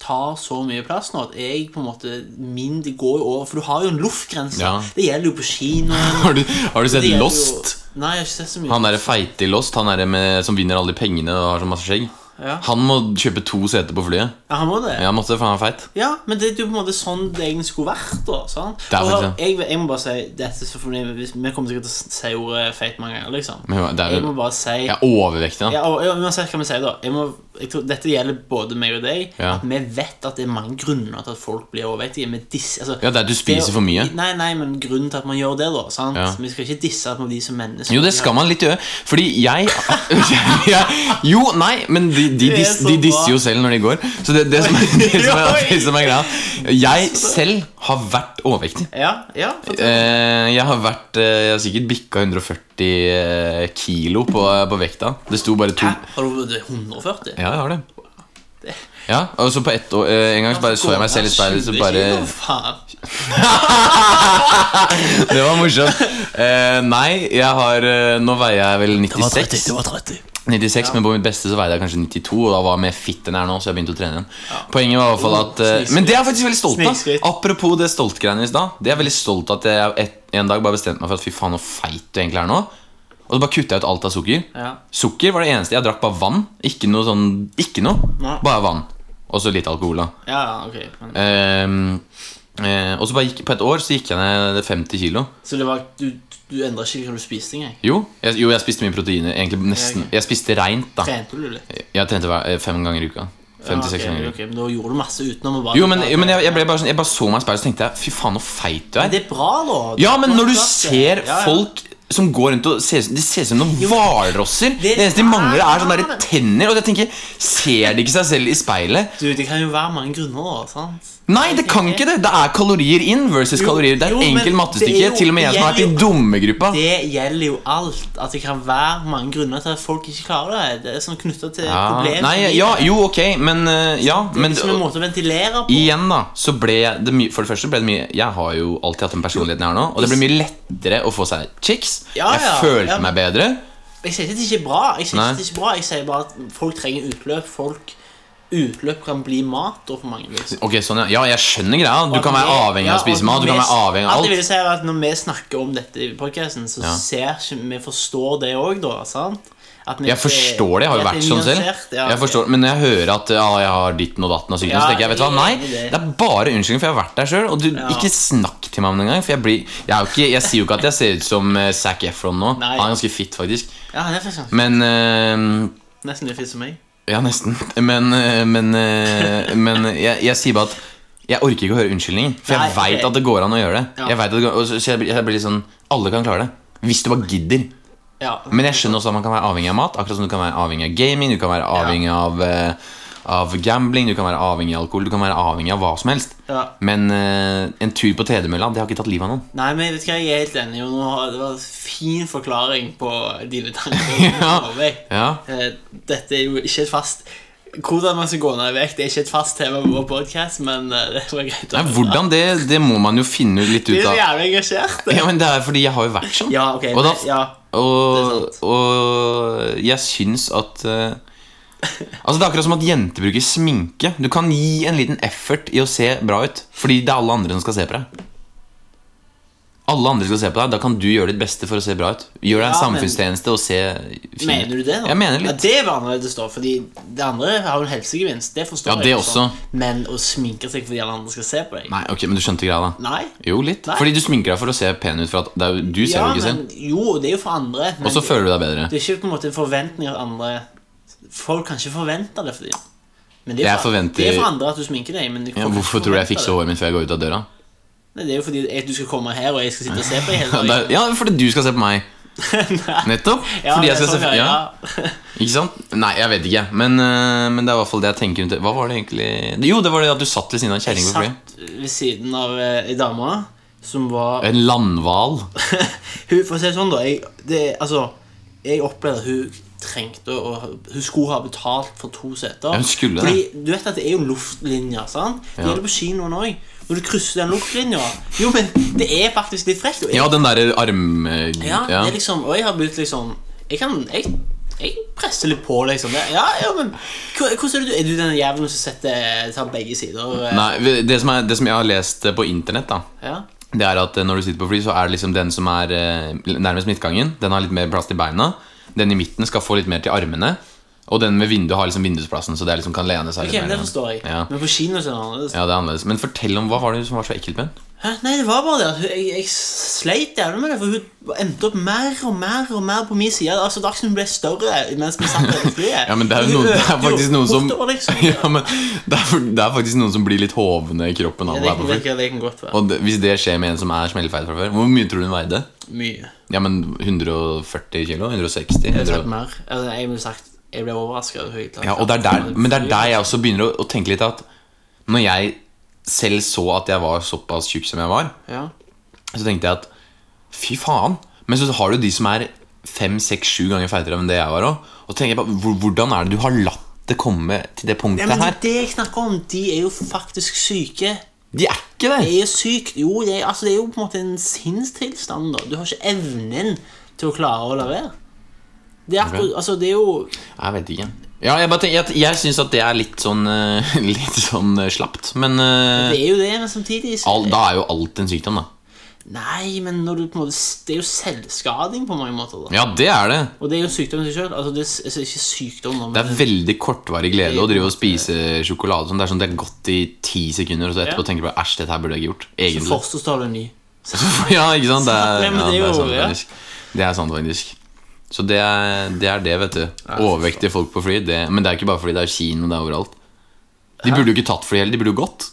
Speaker 4: tar så mye plass nå at jeg på en måte Min det går jo over For du har jo en luftgrense.
Speaker 3: Ja.
Speaker 4: Det gjelder jo på kinoen.
Speaker 3: Har du, har du
Speaker 4: det
Speaker 3: sett
Speaker 4: gjelder
Speaker 3: Lost?
Speaker 4: Jo, nei, jeg har ikke sett så mye.
Speaker 3: Han derre feite i Lost, han derre med- som vinner alle de pengene og har så masse skjegg.
Speaker 4: Ja.
Speaker 3: Han må kjøpe to seter på flyet.
Speaker 4: ja, han må det.
Speaker 3: Ja, måtte, for han er feit.
Speaker 4: Ja, men det er jo på en måte sånn det egentlig skulle vært. da sant?
Speaker 3: Det er
Speaker 4: Og
Speaker 3: faktisk
Speaker 4: hør,
Speaker 3: det.
Speaker 4: jeg, jeg må bare si dette er så fornøyd, hvis- Vi kommer sikkert til å si ordet feit mange ganger. liksom
Speaker 3: Men det er
Speaker 4: Jeg må
Speaker 3: jo
Speaker 4: bare si
Speaker 3: Jeg er overvektig, da.
Speaker 4: ja, og, ja, Uansett hva vi sier, da. Jeg må, jeg tror, dette gjelder både meg og deg.
Speaker 3: Ja.
Speaker 4: At vi vet at det er mange grunner til at folk blir overvektige. men dis- altså,
Speaker 3: Ja, det er at du spiser for mye.
Speaker 4: Nei, nei, men grunnen til at man gjør det, da. sant?
Speaker 3: Ja.
Speaker 4: Vi skal ikke disse på de som mennesker.
Speaker 3: Jo, det skal man litt gjøre. Fordi jeg, jeg Jo, nei, men de, de,
Speaker 4: Det er
Speaker 3: dis-
Speaker 4: så
Speaker 3: de
Speaker 4: bra.
Speaker 3: disser jo selv når de går. Så det, det, som, er, det, som, er, det som er greia Jeg selv har vært overvektig.
Speaker 4: Ja, ja, for-
Speaker 3: Eh, jeg har vært eh, Jeg har sikkert bikka 140 eh, kilo på, på vekta. Det sto bare to
Speaker 4: Hæ? Har du det er 140?
Speaker 3: Ja, jeg har det. Ja, og så på ett år eh,
Speaker 4: Altså,
Speaker 3: En gang så bare så jeg meg selv i speilet, så bare
Speaker 4: 20 kilo, faen.
Speaker 3: Det var morsomt. Eh, nei, jeg har eh, Nå veier jeg vel 96.
Speaker 4: var 30.
Speaker 3: 96, Men på mitt beste så veide jeg kanskje 92, og da var jeg mer fit enn jeg er nå. Så jeg begynte å trene igjen Poenget var i hvert
Speaker 4: Oh,
Speaker 3: fall at eh,
Speaker 4: Snikskritt.
Speaker 3: Men det er jeg faktisk veldig stolt av.
Speaker 4: Snikskritt.
Speaker 3: Apropos det stoltgreiene i stad. Det er jeg veldig stolt av at jeg et, en dag bare bestemte meg for at fy faen, så feit du egentlig er nå. Og så bare kutta jeg ut alt av sukker.
Speaker 4: Ja.
Speaker 3: Sukker var det eneste. Jeg drakk bare vann. Ikke noe sånn Ikke noe.
Speaker 4: Nei.
Speaker 3: Bare vann. Og så litt alkohol, da.
Speaker 4: Ja, ja, ok men-
Speaker 3: Ehm, eh, og så bare gikk, på et år så gikk jeg ned 50 kilo.
Speaker 4: Så det var, du, du endret ikke hva du spiste engang?
Speaker 3: Jo, jeg, jo, jeg spiste mye proteiner. Egentlig nesten
Speaker 4: Ja, ok.
Speaker 3: Jeg spiste reint, da.
Speaker 4: Trente du litt?
Speaker 3: Jeg trente hver, eh, fem ganger i uka. Fem til seks
Speaker 4: Ja, ok,
Speaker 3: ganger i uka.
Speaker 4: ok, Men da gjorde du masse utenom å bare
Speaker 3: Jo, men, jo, men jeg, jeg ble bare sånn Jeg bare så meg i speilet og tenkte jeg, fy faen, så feit du
Speaker 4: Men
Speaker 3: er.
Speaker 4: det er bra, da.
Speaker 3: Ja, men
Speaker 4: Det er
Speaker 3: når du
Speaker 4: klart det.
Speaker 3: ser
Speaker 4: Ja, ja.
Speaker 3: folk som går rundt og ser, De ser ut som noen hvalrosser. Det
Speaker 4: Det- Ah!
Speaker 3: eneste de mangler, er sånne der
Speaker 4: Nei.
Speaker 3: tenner. Og jeg tenker, Ser de ikke seg selv i speilet?
Speaker 4: Du, Det kan jo være mange grunner, da. sant?
Speaker 3: Nei, det kan ikke det! Det er kalorier inn versus
Speaker 4: Jo,
Speaker 3: kalorier ut. Det er
Speaker 4: jo,
Speaker 3: et
Speaker 4: men
Speaker 3: enkelt
Speaker 4: det er
Speaker 3: mattestykke.
Speaker 4: jo-
Speaker 3: Til og med jeg som har vært
Speaker 4: det er
Speaker 3: i dummegruppa.
Speaker 4: Det gjelder jo alt. At det kan være mange grunner til at folk ikke klarer det. Det er sånn knytta til
Speaker 3: Ja,
Speaker 4: problemer.
Speaker 3: nei, ja, jo, ok, men eh, Ja,
Speaker 4: men,
Speaker 3: men
Speaker 4: det er liksom en måte å ventilere på.
Speaker 3: igjen, da, så ble jeg det mye, For det første ble det mye Jeg har jo alltid hatt den personligheten jeg har nå, og det ble mye lettere å få seg chicks.
Speaker 4: Ja,
Speaker 3: Jeg
Speaker 4: ja,
Speaker 3: følte
Speaker 4: ja, men-
Speaker 3: meg bedre.
Speaker 4: Jeg sier ikke at det ikke er bra. Jeg sier ikke
Speaker 3: Nei.
Speaker 4: at det ikke er bra Jeg sier bare at folk trenger utløp. Folk Utløp kan bli mat da, for mange. Liksom.
Speaker 3: Ok, sånn, ja. ja, jeg skjønner greia. Du
Speaker 4: Og at
Speaker 3: kan være
Speaker 4: vi-
Speaker 3: avhengig av
Speaker 4: ja,
Speaker 3: å spise
Speaker 4: og
Speaker 3: mat. Du
Speaker 4: vi-
Speaker 3: kan være avhengig av
Speaker 4: Alt jeg vil
Speaker 3: alt.
Speaker 4: si er at Når vi snakker om dette i podcasten så
Speaker 3: Ja.
Speaker 4: ser ikke vi forstår det òg, da. sant? At vi
Speaker 3: Jeg
Speaker 4: ikke-
Speaker 3: forstår det. Jeg har jo
Speaker 4: at
Speaker 3: vært
Speaker 4: er
Speaker 3: sånn selv.
Speaker 4: nyansert, ja.
Speaker 3: Jeg forstår, men når jeg hører at ja, jeg har ditten og datten og sykdom,
Speaker 4: Ja,
Speaker 3: så tenker jeg vet du hva,
Speaker 4: jeg er
Speaker 3: nei.
Speaker 4: enig i det.
Speaker 3: Det er bare unnskyldning, for jeg har vært der sjøl. Og du,
Speaker 4: Ja.
Speaker 3: ikke snakk til meg om det engang. For jeg blir Jeg, er jo ikke, jeg sier jo ikke at jeg ser ut som eh, Zac Efron nå.
Speaker 4: Nei.
Speaker 3: Han er ganske fit, faktisk.
Speaker 4: Ja, det er faktisk sånn.
Speaker 3: Men eh,
Speaker 4: Nesten like fint som meg.
Speaker 3: Ja, nesten. Men, eh, men, eh, men jeg, jeg sier bare at jeg orker ikke å høre unnskyldninger. For jeg
Speaker 4: Nei,
Speaker 3: veit
Speaker 4: ok.
Speaker 3: at det går an å gjøre det.
Speaker 4: Ja.
Speaker 3: Jeg vet at det går, og så så jeg, blir- jeg blir litt sånn Alle kan klare det. Hvis du bare gidder.
Speaker 4: Ja.
Speaker 3: Men jeg skjønner også at man kan være avhengig av mat. Akkurat som du kan være avhengig av gaming, du kan være avhengig av, eh, av gambling, du kan være avhengig av alkohol, du kan være avhengig av hva som helst.
Speaker 4: Ja.
Speaker 3: Men eh, en tur på tredemølla, det har ikke tatt livet av noen.
Speaker 4: Nei, men vet du hva, jeg er helt enig. Og nå har, det var en fin forklaring på dine tanker.
Speaker 3: Ja. Ja.
Speaker 4: Eh, Dette er jo ikke et fast Hvordan man skal gå ned i vekt, det er ikke et fast tema på vår podkast, men eh, det var greit. å
Speaker 3: Nei,
Speaker 4: høre.
Speaker 3: hvordan det, det må man jo finne litt
Speaker 4: Du er
Speaker 3: ut
Speaker 4: så
Speaker 3: av.
Speaker 4: jævlig engasjert.
Speaker 3: Ja, men det er fordi jeg har jo vært sånn.
Speaker 4: Ja, ok.
Speaker 3: Og da-
Speaker 4: nei, ja.
Speaker 3: Og,
Speaker 4: Det
Speaker 3: og jeg syns at eh, Altså Det er akkurat som at jenter bruker sminke. Du kan gi en liten effort i å se bra ut. Fordi det er alle andre som skal se på deg. Alle andre skal se på deg Da kan du gjøre ditt beste for å se bra ut. Gjør deg en
Speaker 4: Ja, men-
Speaker 3: samfunnstjeneste og se fin ut.
Speaker 4: Mener du det, da?
Speaker 3: Jeg mener litt.
Speaker 4: Ja, det var annerledes, da. Fordi det andre har jo en helsegevinst. Det forstår
Speaker 3: Ja, det
Speaker 4: jeg sånn.
Speaker 3: også.
Speaker 4: Men å sminke seg fordi alle andre skal se på deg
Speaker 3: Nei, ok, Men du skjønte greia, da?
Speaker 4: Nei.
Speaker 3: Jo, litt.
Speaker 4: Nei.
Speaker 3: Fordi du sminker deg for å se pen ut. For at det er, jo- du ser
Speaker 4: ja,
Speaker 3: jo ikke
Speaker 4: men,
Speaker 3: selv.
Speaker 4: jo, det er jo for andre. men
Speaker 3: Og så
Speaker 4: det-
Speaker 3: føler du deg bedre.
Speaker 4: Det er ikke på en måte en forventning at andre Folk kan ikke forvente det for dem. Men det er,
Speaker 3: Jeg
Speaker 4: for,
Speaker 3: forventer-
Speaker 4: det er for andre at du sminker deg. Men
Speaker 3: Ja, hvorfor tror du jeg fikser håret mitt før jeg går ut av døra?
Speaker 4: Nei, det er jo fordi at du skal komme her, og jeg skal sitte og se på deg hele
Speaker 3: Ja, det
Speaker 4: dagen.
Speaker 3: er- Ja, fordi du skal se på meg. Nettopp.
Speaker 4: Ja,
Speaker 3: fordi
Speaker 4: det
Speaker 3: jeg skal
Speaker 4: er sånn,
Speaker 3: se ja.
Speaker 4: ja.
Speaker 3: Ikke sant? Nei, jeg vet ikke. Men, øh, men det er i hvert fall det jeg tenker rundt det. Hva var det egentlig Jo, det var det at du satt ved siden av en kjerring på flyet.
Speaker 4: Satt ved siden av eh, ei dame som var
Speaker 3: En landhval.
Speaker 4: Hun, For å si det sånn, da. Jeg, det, altså, jeg opplevde at hun trengte å Hun skulle ha betalt for to
Speaker 3: Ja,
Speaker 4: seter.
Speaker 3: hun skulle
Speaker 4: Fordi, Du vet at det er jo luftlinjer, sant? Det
Speaker 3: Ja.
Speaker 4: gjelder på kinoen òg. Når du krysser den luftlinja Jo, men det er faktisk litt frekt. Og jeg,
Speaker 3: Ja, den derre arm... øh,
Speaker 4: ja,
Speaker 3: ja.
Speaker 4: Det er liksom, og jeg har blitt liksom Jeg kan jeg, jeg presser litt på, liksom. Det, ja, ja, men hva- hvordan Er det du Er du den jævelen som setter, tar begge sider? eh?
Speaker 3: Nei, det som, er, det som jeg har lest eh, på internett, da
Speaker 4: Ja.
Speaker 3: det er at eh, når du sitter på fly, så er det liksom den som er eh, nærmest midtgangen. Den har litt mer plass til beina. Den i midten skal få litt mer til armene. Og den med vinduet har liksom vindusplassen, så det er liksom kan lene seg
Speaker 4: Ok,
Speaker 3: litt
Speaker 4: men
Speaker 3: mer.
Speaker 4: Det forstår jeg.
Speaker 3: Ja.
Speaker 4: Men på kino så er det annerledes.
Speaker 3: Ja, det er annerledes. Men fortell om hva var det som var så ekkelt med den?
Speaker 4: Hæ? Nei, det var bare det at hun- jeg, jeg sleit jævlig med det, for hun endte opp mer og mer og mer på min side. Altså, Dagsnytt ble større mens vi satt der i flyet.
Speaker 3: Ja, men det er,
Speaker 4: Hun
Speaker 3: jo noen, det
Speaker 4: økte
Speaker 3: er
Speaker 4: jo
Speaker 3: faktisk noen som
Speaker 4: bortover, liksom. ja,
Speaker 3: ja, men det, er, for- det er faktisk noen som blir litt hovne i kroppen av å
Speaker 4: det,
Speaker 3: være
Speaker 4: kan,
Speaker 3: på
Speaker 4: det,
Speaker 3: fly.
Speaker 4: kan, det kan godt være.
Speaker 3: Og det, hvis det skjer med en som er smellfeit fra før, hvor mye tror du hun veide?
Speaker 4: Mye.
Speaker 3: Ja, men 140 kilo? 160?
Speaker 4: Jeg ville
Speaker 3: 100.
Speaker 4: sagt mer. Altså, jeg ville sagt jeg ble overraska.
Speaker 3: Ja, og det er der, men det er der jeg også begynner å, å tenke litt at Når jeg selv så at jeg var såpass tjukk som jeg var,
Speaker 4: ja.
Speaker 3: så tenkte jeg at fy faen. Men så har du de som er fem, seks, sju ganger feitere enn det jeg var òg. Og tenker jeg bare, hvor- hvordan er det du har latt det komme til det
Speaker 4: Ja,
Speaker 3: punktet
Speaker 4: men
Speaker 3: her?
Speaker 4: det jeg snakker om, de er jo faktisk syke.
Speaker 3: De er ikke det!
Speaker 4: Det er sykt. Jo, det er, altså, det er jo på en måte en sinnstilstand. da. Du har ikke evnen til å klare å la være. Det er, akkurat- altså, det er jo
Speaker 3: Jeg vet ikke. Ja, jeg bare tenker, jeg, jeg syns at det er litt sånn eh, Litt sånn eh, slapt, men eh,
Speaker 4: Det er jo det, men samtidig så-
Speaker 3: all, Da er jo alt en sykdom, da.
Speaker 4: Nei, men når du på en måte Det er jo selvskading på mange måter. da
Speaker 3: Ja, det er det.
Speaker 4: Og det er jo sykdom i seg sjøl. Altså, det er s- altså, ikke sykdom, da, men
Speaker 3: Det er veldig kortvarig glede å drive og spise sjokolade. Sånn. Det er sånn det er godt i ti sekunder, og så etterpå
Speaker 4: Ja.
Speaker 3: tenker du bare æsj, dette her burde jeg ikke gjort.
Speaker 4: så
Speaker 3: Egentlig.
Speaker 4: fosterstår du en ny.
Speaker 3: Ja, ikke sant? Det er,
Speaker 4: Nei, men
Speaker 3: ja,
Speaker 4: det
Speaker 3: det
Speaker 4: er
Speaker 3: er
Speaker 4: jo-
Speaker 3: sant,
Speaker 4: ja.
Speaker 3: faktisk. Det er sant, faktisk. Så det er det, er det vet du. Overvektige folk på fly. Det, men det er ikke bare fordi det er kino, det er overalt. De burde jo ikke tatt fly heller, de burde jo gått.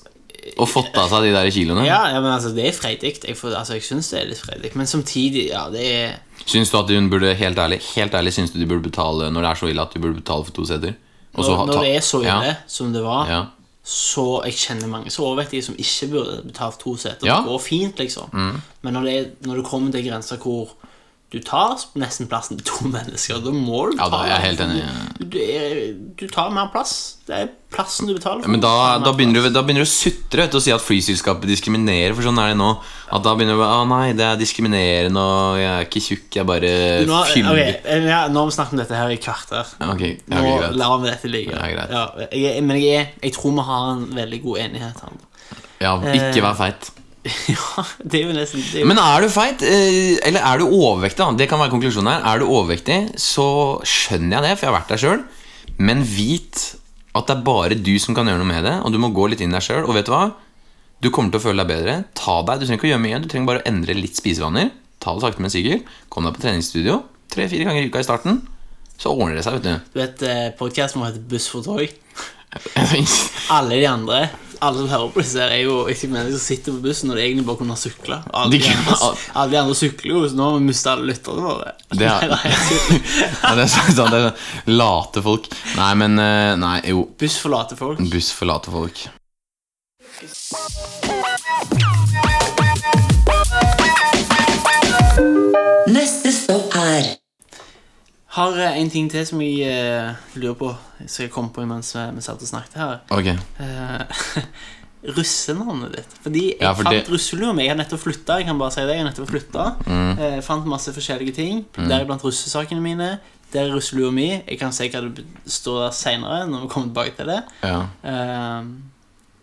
Speaker 3: Og fått av seg de der kiloene.
Speaker 4: Ja, ja, men altså, det er freidig. Jeg, får- altså, jeg syns det er litt freidig, men samtidig, ja, det er
Speaker 3: Syns du at hun burde, helt ærlig, helt ærlig syns du de burde betale når det er så ille at de burde betale for to seter? Og så
Speaker 4: Når,
Speaker 3: ha-
Speaker 4: når
Speaker 3: ta-
Speaker 4: det er så ille
Speaker 3: Ja,
Speaker 4: som det var,
Speaker 3: ja.
Speaker 4: så Jeg kjenner mange så overvektige som ikke burde betalt to seter.
Speaker 3: Ja. Mm.
Speaker 4: Det går fint, liksom. Men når det, er, når det kommer til grenser hvor du tar nesten plassen til to mennesker, da må du
Speaker 3: Ja, da
Speaker 4: ta
Speaker 3: er jeg helt enig.
Speaker 4: Du, du, er, du tar mer plass. Det er plassen du betaler for.
Speaker 3: Men
Speaker 4: Du
Speaker 3: da,
Speaker 4: tar mer
Speaker 3: da, begynner
Speaker 4: plass.
Speaker 3: du, da begynner du å sutre vet du, og si at flyselskapet diskriminerer, for sånn er det nå. At da begynner du å nei, det er diskriminerende, og jeg er ikke tjukk, jeg bare
Speaker 4: nå,
Speaker 3: fyller
Speaker 4: ok, eh, ja, nå har vi snakket om dette her i et kvarter.
Speaker 3: Ok, ja,
Speaker 4: Nå
Speaker 3: ok, greit.
Speaker 4: lar vi dette ligge.
Speaker 3: Ja, greit.
Speaker 4: jeg, er- men jeg, er- jeg tror vi har en veldig god enighet her.
Speaker 3: Ja, ikke vær feit.
Speaker 4: ja, det er jo nesten det er jo,
Speaker 3: Men er du feit, eh, eller er du overvektig, da? det kan være konklusjonen her, er du overvektig, så skjønner jeg det, for jeg har vært der sjøl, men vit at det er bare du som kan gjøre noe med det, og du må gå litt inn i deg sjøl, og vet du hva? Du kommer til å føle deg bedre. Ta deg, Du trenger ikke å gjøre mye, du trenger bare å endre litt spisevaner. Ta det sakte, men sikkert. Kom deg på treningsstudio tre-fire ganger i uka i starten, så ordner det seg, vet du.
Speaker 4: Du vet eh, podcasten vår heter Buss for tog?
Speaker 3: ja,
Speaker 4: Alle de andre alle som hører på disse, her er jo ikke mennesker som sitter på bussen når de egentlig bare kunne ha sykla. Alle,
Speaker 3: De
Speaker 4: de
Speaker 3: kunne-
Speaker 4: andre- alle de andre sykler jo, så nå har vi mista alle lytterne våre.
Speaker 3: Det er-
Speaker 4: Nei, nei, jeg tuller.
Speaker 3: det er sant, det er late folk. Nei, men eh, Nei, jo.
Speaker 4: Buss forlater folk.
Speaker 3: Buss for late folk.
Speaker 2: Neste stopp er
Speaker 4: Har eh, en ting til som jeg eh, lurer på, som jeg kom på mens vi, vi satt og snakket her.
Speaker 3: Ok.
Speaker 4: Eh, russenavnet ditt. Fordi jeg
Speaker 3: Ja, for
Speaker 4: fant
Speaker 3: det-
Speaker 4: russelua mi. Jeg har nettopp flytta. Jeg kan bare si det, jeg har nettopp flyttet.
Speaker 3: Mm.
Speaker 4: Eh, fant masse forskjellige ting, deriblant russesakene mine. Der er russelua mi. Jeg kan si hva det står der seinere, når vi kommer tilbake til det.
Speaker 3: Ja.
Speaker 4: Eh,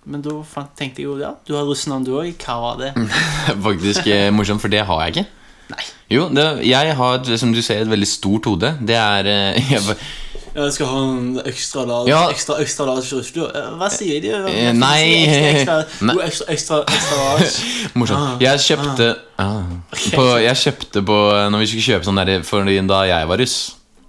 Speaker 4: men da fant, tenkte jeg jo ja, du har russenavn du òg. Hva var det?
Speaker 3: Mm. faktisk eh, morsomt, for det har jeg ikke.
Speaker 4: Nei.
Speaker 3: Jo, det, jeg har et, som du ser, et veldig stort hode. Det er eh, jeg, bare-
Speaker 4: Jeg skal ha en ekstra large
Speaker 3: Ja.
Speaker 4: ekstra, ekstra large russelue. Eh, Hva sier de? Hva-
Speaker 3: Eh,
Speaker 4: hva
Speaker 3: nei.
Speaker 4: sier de? Ekstra,
Speaker 3: Nei.
Speaker 4: ekstra, jo, ekstra, ekstra, ekstra large.
Speaker 3: Morsomt. Jeg kjøpte ah, på, Jeg kjøpte på Når vi skulle kjøpe sånn der for da jeg var russ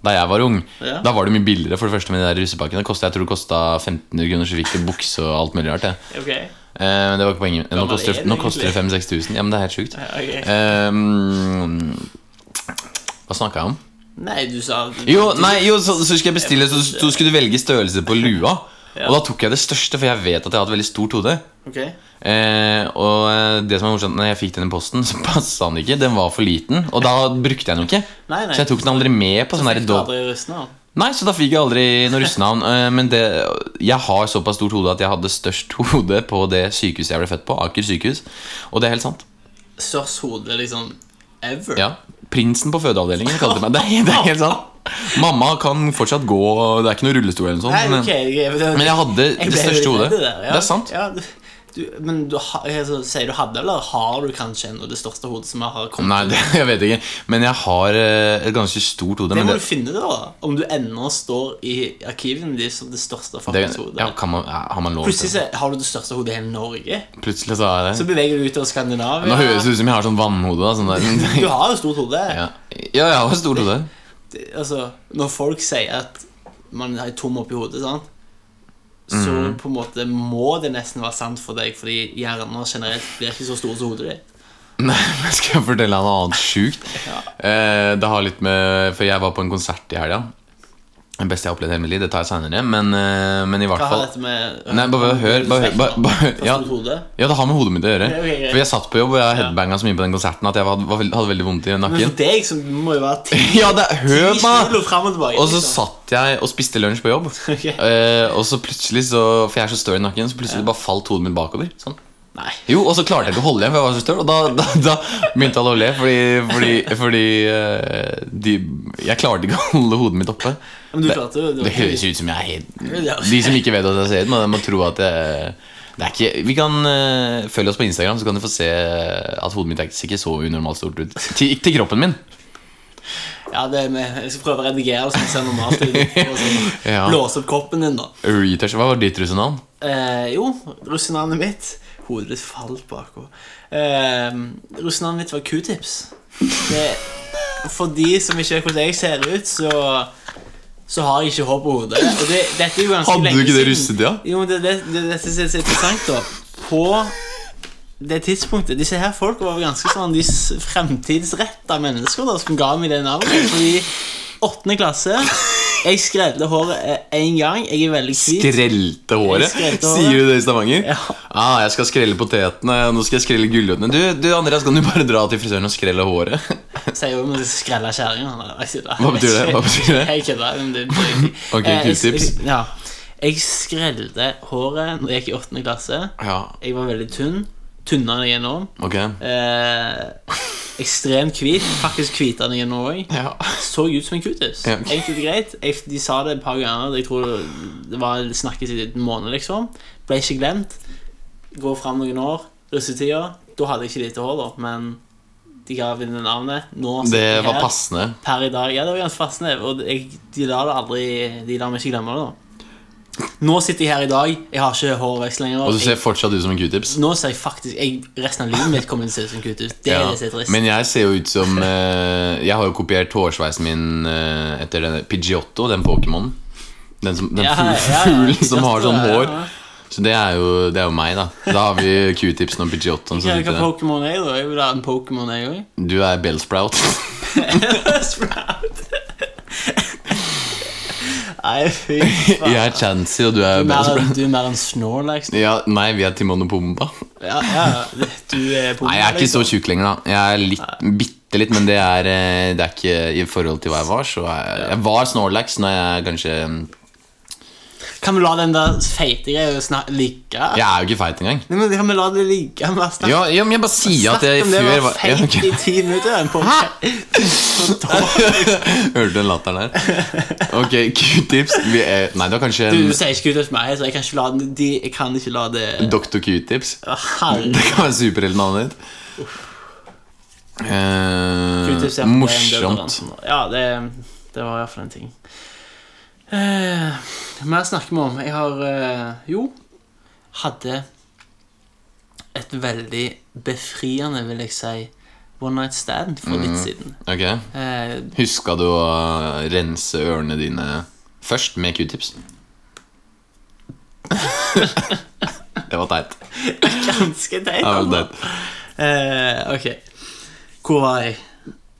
Speaker 3: da jeg var ung,
Speaker 4: Ja.
Speaker 3: da var det mye billigere. For det første med de der russepakkene Det kostet, Jeg tror det kosta 1500 kroner, så fikk du bukse og alt mulig rart. jeg.
Speaker 4: Ok.
Speaker 3: Eh, Men det var ikke poenget. Nå
Speaker 4: Gammel
Speaker 3: koster,
Speaker 4: er
Speaker 3: det-
Speaker 4: det
Speaker 3: nå koster det
Speaker 4: egentlig?
Speaker 3: Eh. 5000-6000. Ja, men det er helt sjukt.
Speaker 4: Ja, ok.
Speaker 3: Eh, mm, Ehm, Hva snakka jeg om?
Speaker 4: Nei, du sa
Speaker 3: Jo, nei, jo så, så skulle jeg bestille, så, så skulle du velge størrelse på lua. Og da tok jeg det største, for jeg vet at jeg har et veldig stort hode.
Speaker 4: Ok.
Speaker 3: Eh, og eh, det som er morsomt Når jeg fikk den i posten, så passa den ikke. Den var for liten, og da brukte jeg den jo ikke.
Speaker 4: Nei, nei.
Speaker 3: Så jeg tok den aldri med på sånn
Speaker 4: Fikk
Speaker 3: der
Speaker 4: du
Speaker 3: do-
Speaker 4: aldri rustna?
Speaker 3: Nei, så da fikk jeg aldri noe russenavn. eh, Men det, jeg har såpass stort hode at jeg hadde størst hode på det sykehuset jeg ble født på. Aker sykehus. Og det er helt sant.
Speaker 4: Størst hode liksom ever?
Speaker 3: Ja, Prinsen på fødeavdelingen kalte de meg det. er- Det er helt sant. Mamma kan fortsatt gå, og det er ikke noe rullestol eller noe
Speaker 4: Nei,
Speaker 3: sånt. men-
Speaker 4: ok, jeg, det,
Speaker 3: Men jeg hadde det største hodet.
Speaker 4: Det, der, ja.
Speaker 3: Det er sant.
Speaker 4: Ja, du, du, men du, ha- altså, sier du hadde, eller har du kanskje ennå det største hodet som jeg har kommet
Speaker 3: Nei, det, jeg vet ikke. Men jeg har eh, et ganske stort hode.
Speaker 4: Det
Speaker 3: Men
Speaker 4: må
Speaker 3: det,
Speaker 4: du finne, da. Om du ennå står i arkivene dine som det største
Speaker 3: det,
Speaker 4: fuckings hodet.
Speaker 3: ja, kan man, ja, har man lov
Speaker 4: Plutselig
Speaker 3: til
Speaker 4: så har du det største hodet i hele Norge.
Speaker 3: det? Plutselig så er
Speaker 4: Så
Speaker 3: det
Speaker 4: beveger du deg utover Skandinavia.
Speaker 3: Nå høres det ut som jeg har sånn vannhode. Da, sånn
Speaker 4: Du
Speaker 3: der.
Speaker 4: har jo stort hode.
Speaker 3: Ja. ja, jeg har et stort hode.
Speaker 4: Det- Altså, når folk sier at man er tom oppi hodet, sant? så
Speaker 3: Mhm.
Speaker 4: på en måte må det nesten være sant for deg, fordi hjernen generelt blir ikke så stor som hodet ditt.
Speaker 3: Nei, men skal jeg fortelle deg noe annet sjukt? Eh, det har litt med For jeg var på en konsert i helga. Det beste jeg har opplevd i hele mitt liv. Det tar jeg seinere. Men, eh, men i hvert
Speaker 4: Hva har
Speaker 3: fall
Speaker 4: dette med øh,
Speaker 3: Nei, bare hør, bare hør, bare- bare-
Speaker 4: Det er
Speaker 3: ja.
Speaker 4: stort hode.
Speaker 3: Ja, det har med hodet mitt å gjøre.
Speaker 4: Ok, ok, greit.
Speaker 3: For jeg satt på jobb, og jeg headbanga så mye på den konserten at jeg hadde, hadde veldig vondt i
Speaker 4: Men
Speaker 3: nakken.
Speaker 4: for deg så må det jo være ti
Speaker 3: Ja, det, hør
Speaker 4: ti
Speaker 3: meg!
Speaker 4: kilo frem og tilbake.
Speaker 3: Og så
Speaker 4: liksom.
Speaker 3: satt jeg og spiste lunsj på jobb.
Speaker 4: Ok.
Speaker 3: Eh, og så plutselig, så, for jeg er så støl i nakken, så plutselig bare falt hodet mitt bakover. Sånn.
Speaker 4: Nei.
Speaker 3: Jo, Og så klarte jeg ikke å holde igjen, for jeg var så støl. Og da, da, da begynte alle å le, fordi, fordi, fordi eh, de, jeg klarte ikke å holde hodet mitt oppe.
Speaker 4: Men du
Speaker 3: Det-
Speaker 4: klarte jo det var
Speaker 3: Det
Speaker 4: ikke-
Speaker 3: høres ut som jeg er
Speaker 4: Ja.
Speaker 3: helt De som ikke vet at jeg ser ut, må, må tro at jeg det er ikke, vi kan eh, Følg oss på Instagram, så kan du få se at hodet mitt er ikke- ser ikke så unormalt stort ut. Til, til kroppen min.
Speaker 4: Ja, det er med. Jeg skal prøve å redigere det sånn at det ser normalt ut. og så
Speaker 3: Ja.
Speaker 4: Blåse opp koppen din, da.
Speaker 3: Retouch, Hva var ditt russenavn?
Speaker 4: Eh, jo, russenavnet mitt Hodet ditt falt bakover. Eh, russenavnet mitt var Q-tips. Det- For de som ikke vet hvordan jeg ser ut, så så har jeg ikke hår på hodet. Og det, dette er jo ganske
Speaker 3: Hadde du
Speaker 4: lenge
Speaker 3: ikke det
Speaker 4: siden.
Speaker 3: russetida?
Speaker 4: Jo, men det, det, det, det synes jeg er så interessant, da. På det tidspunktet Disse her folk var jo ganske sånn de s- fremtidsretta mennesker da, som ga meg det navnet. Fordi åttende klasse Jeg skrevde håret én gang. Jeg er veldig hvit.
Speaker 3: Skrelte håret?
Speaker 4: skrelte håret.
Speaker 3: Sier du det i Stavanger?
Speaker 4: Ja.
Speaker 3: Ah, jeg skal skrelle potetene, nå skal jeg skrelle gulrøttene. Du, du, Andreas, kan du bare dra til frisøren og skrelle håret?
Speaker 4: Sier jo men skrella kjerringa. Nei, jeg sier det.
Speaker 3: Hva betyr det? Hva betyr det?
Speaker 4: Jeg kødder. men det betyr ikke.
Speaker 3: Ok,
Speaker 4: Eh, jeg-
Speaker 3: Q-tips.
Speaker 4: jeg- Ja. Jeg skrelde håret når jeg gikk i åttende klasse.
Speaker 3: Ja,
Speaker 4: Jeg var veldig tynn. Tynnere enn jeg er nå.
Speaker 3: ok.
Speaker 4: Eh, ekstremt hvit. Faktisk hvitere enn jeg er nå òg.
Speaker 3: Ja.
Speaker 4: Så ut som en q-tips.
Speaker 3: Ja.
Speaker 4: Egentlig greit. Jeg, de sa det et par ganger. Jeg tror det var snakkes i en måned, liksom. Ble ikke glemt. Går fram noen år. Russetida. Da hadde jeg ikke lite hår, da, men de ga meg det navnet. Nå sitter
Speaker 3: Det
Speaker 4: jeg
Speaker 3: var
Speaker 4: her
Speaker 3: passende.
Speaker 4: per i dag. Ja, det var ganske fastende, og jeg, de lar det aldri De lar meg ikke glemme det, da. Nå sitter jeg her i dag, jeg har ikke hårvekst lenger.
Speaker 3: Og du ser
Speaker 4: jeg,
Speaker 3: fortsatt ut som en q-tips.
Speaker 4: nå ser jeg faktisk jeg, Resten av livet mitt kommer til å se ut som kutt ut. Det er
Speaker 3: Ja,
Speaker 4: det som er trist.
Speaker 3: Men jeg ser jo ut som eh, Jeg har jo kopiert hårsveisen min eh, etter denne Pidgeotto, den Pokémonen. Den, som, den
Speaker 4: Ja,
Speaker 3: fugl-
Speaker 4: ja, ja,
Speaker 3: fuglen som
Speaker 4: Pidgeotto,
Speaker 3: har sånn
Speaker 4: ja,
Speaker 3: hår.
Speaker 4: ja.
Speaker 3: Så det er, jo, det er jo meg, da. Da har vi q-tipsen og Pidgeottoen.
Speaker 4: Hva
Speaker 3: som
Speaker 4: hva
Speaker 3: sitter der.
Speaker 4: Pokémon er jeg, da? Jeg vil ha en Pokémon, jeg òg.
Speaker 3: Du er Bellsprout.
Speaker 4: Sprout. Nei, fy faen.
Speaker 3: Jeg er Chancy, og du
Speaker 4: Du
Speaker 3: er
Speaker 4: er mer en-
Speaker 3: Bellsprout.
Speaker 4: Du er mer en Snorlax.
Speaker 3: Ja, nei, vi er Timon og Pumba.
Speaker 4: Ja, ja, du er Pokémon.
Speaker 3: Nei, jeg er ikke så
Speaker 4: liksom.
Speaker 3: tjukk lenger, da. Jeg er litt, bitte litt, men det er, eh, det er ikke i forhold til hva jeg var. Så jeg, jeg var Snorlax når jeg kanskje
Speaker 4: Kan vi la den der feite greia snak- ligge?
Speaker 3: Jeg er jo ikke feit engang.
Speaker 4: Nei, men Kan vi la det ligge? Vi har snakket
Speaker 3: Ja, ja, men jeg bare sier at jeg
Speaker 4: Snakk om det
Speaker 3: før
Speaker 4: var
Speaker 3: var ja,
Speaker 4: feit
Speaker 3: ok.
Speaker 4: i ti minutter. Den på.
Speaker 3: Hørte du den latteren der? Ok, Q-tips. Vi er- Nei, det var kanskje
Speaker 4: Du,
Speaker 3: en
Speaker 4: du sier ikke ut hos meg, så jeg kan ikke la, den- de, jeg kan ikke la det
Speaker 3: Dr. Q-tips.
Speaker 4: Herregud.
Speaker 3: Det kan være superheltnavnet ditt. Eh, morsomt.
Speaker 4: Ja, det, det var iallfall en ting. Eh, mer snakker vi om. Jeg har eh, Jo, hadde et veldig befriende, vil jeg si, one night stand for litt siden.
Speaker 3: Ok,
Speaker 4: Eh,
Speaker 3: Huska du å eh, rense ørene dine først med Q-tips? det var teit.
Speaker 4: ganske teit.
Speaker 3: Det var
Speaker 4: altså.
Speaker 3: teit.
Speaker 4: Eh, ok. Hvor var jeg?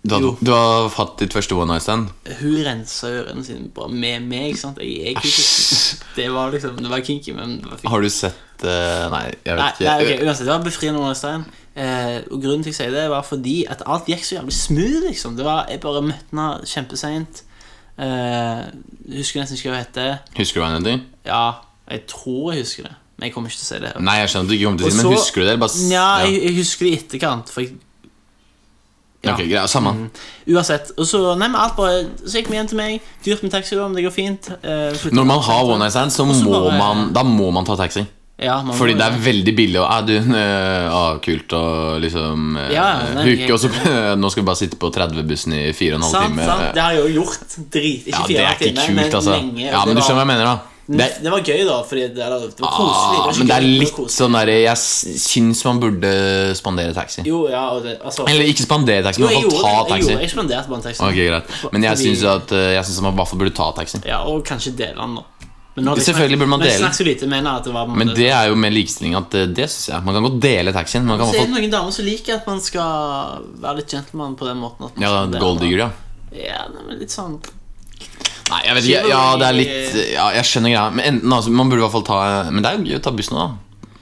Speaker 3: Du hadde,
Speaker 4: Jo.
Speaker 3: du har hatt ditt første one night stand?
Speaker 4: Hun rensa ørene sine bare med meg. ikke sant? Jeg er kinky. Det var liksom, det var kinky, men det var fint.
Speaker 3: Har du sett eh, Nei, jeg
Speaker 4: Nei,
Speaker 3: vet ikke.
Speaker 4: nei, ok, uansett, det var befriende Ole Stein. Eh, og grunnen til at jeg sier det, var fordi at alt gikk så jævlig smooth, liksom. Det var, jeg bare møtte henne kjempeseint. Eh, husker nesten ikke hva hun heter.
Speaker 3: Husker du hva han heter?
Speaker 4: Ja, jeg tror jeg husker det. Men jeg kommer ikke til å si det. her.
Speaker 3: Nei, jeg skjønner at du ikke kommer til å si
Speaker 4: Og
Speaker 3: det, men
Speaker 4: så-
Speaker 3: husker du det? eller Bare, s-
Speaker 4: Nja,
Speaker 3: ja.
Speaker 4: jeg, jeg husker det i etterkant. For jeg, ja. Mhm.
Speaker 3: Ok, greit, samme.
Speaker 4: Uansett. Og så nei, men alt bare Så gikk vi hjem til meg. Dyrt med taxi, da, men det går fint. Eh, flyttet-
Speaker 3: Når man har one night stand, så
Speaker 4: så
Speaker 3: må
Speaker 4: bare-
Speaker 3: man Da må man ta taxi.
Speaker 4: ja, man må
Speaker 3: Fordi det
Speaker 4: jo-
Speaker 3: er veldig billig å ah, du, eh, ah, kult og liksom eh,
Speaker 4: Ja, nei,
Speaker 3: huke,
Speaker 4: jeg-
Speaker 3: og så Nå skal vi bare sitte på 30-bussen i fire og en halv
Speaker 4: Sant,
Speaker 3: time.
Speaker 4: sant. Det har jeg jo gjort. Drit. Ikke
Speaker 3: ja,
Speaker 4: fire
Speaker 3: det er ikke kult,
Speaker 4: timer, men
Speaker 3: altså.
Speaker 4: lenge.
Speaker 3: Ja,
Speaker 4: og
Speaker 3: men
Speaker 4: det
Speaker 3: du
Speaker 4: var-
Speaker 3: skjønner hva jeg mener, da.
Speaker 4: Det,
Speaker 3: Det,
Speaker 4: var gøy, da, fordi det, det var koselig. det
Speaker 3: ah,
Speaker 4: var
Speaker 3: men det er
Speaker 4: skikkelig,
Speaker 3: litt
Speaker 4: var koselig.
Speaker 3: sånn derre Jeg s- syns man burde spandere taxi.
Speaker 4: Jo, ja, og det, altså
Speaker 3: Eller ikke spandere taxi,
Speaker 4: jo,
Speaker 3: men i
Speaker 4: jeg
Speaker 3: hvert
Speaker 4: gjorde
Speaker 3: fall
Speaker 4: det.
Speaker 3: ta
Speaker 4: Jeg,
Speaker 3: taxi.
Speaker 4: gjorde, jeg spanderte bare en taxi.
Speaker 3: Ok, greit Men jeg
Speaker 4: Fordi-
Speaker 3: syns at, eh, jeg synes at man i hvert fall burde ta taxi.
Speaker 4: Ja, Og kanskje dele den, da. Men nå har jeg snakket-
Speaker 3: Selvfølgelig burde man
Speaker 4: men jeg
Speaker 3: dele den.
Speaker 4: snakket så lite, jeg mener at det var på en
Speaker 3: Men
Speaker 4: måte-
Speaker 3: det er jo med likestilling at eh, det syns jeg. Man kan godt dele taxien. Man kan i
Speaker 4: Så er
Speaker 3: hvert
Speaker 4: det noen damer som liker at man skal være litt gentleman på den måten.
Speaker 3: fall
Speaker 4: At man skal
Speaker 3: Ja,
Speaker 4: dele
Speaker 3: gold
Speaker 4: den.
Speaker 3: digger, ja.
Speaker 4: Ja, nei, men litt sånn
Speaker 3: Nei, jeg vet ikke. Ja, det er litt Ja, jeg skjønner greia. Men enten, altså, man burde i hvert fall ta Men det er jo gøy å ta bussen òg, da.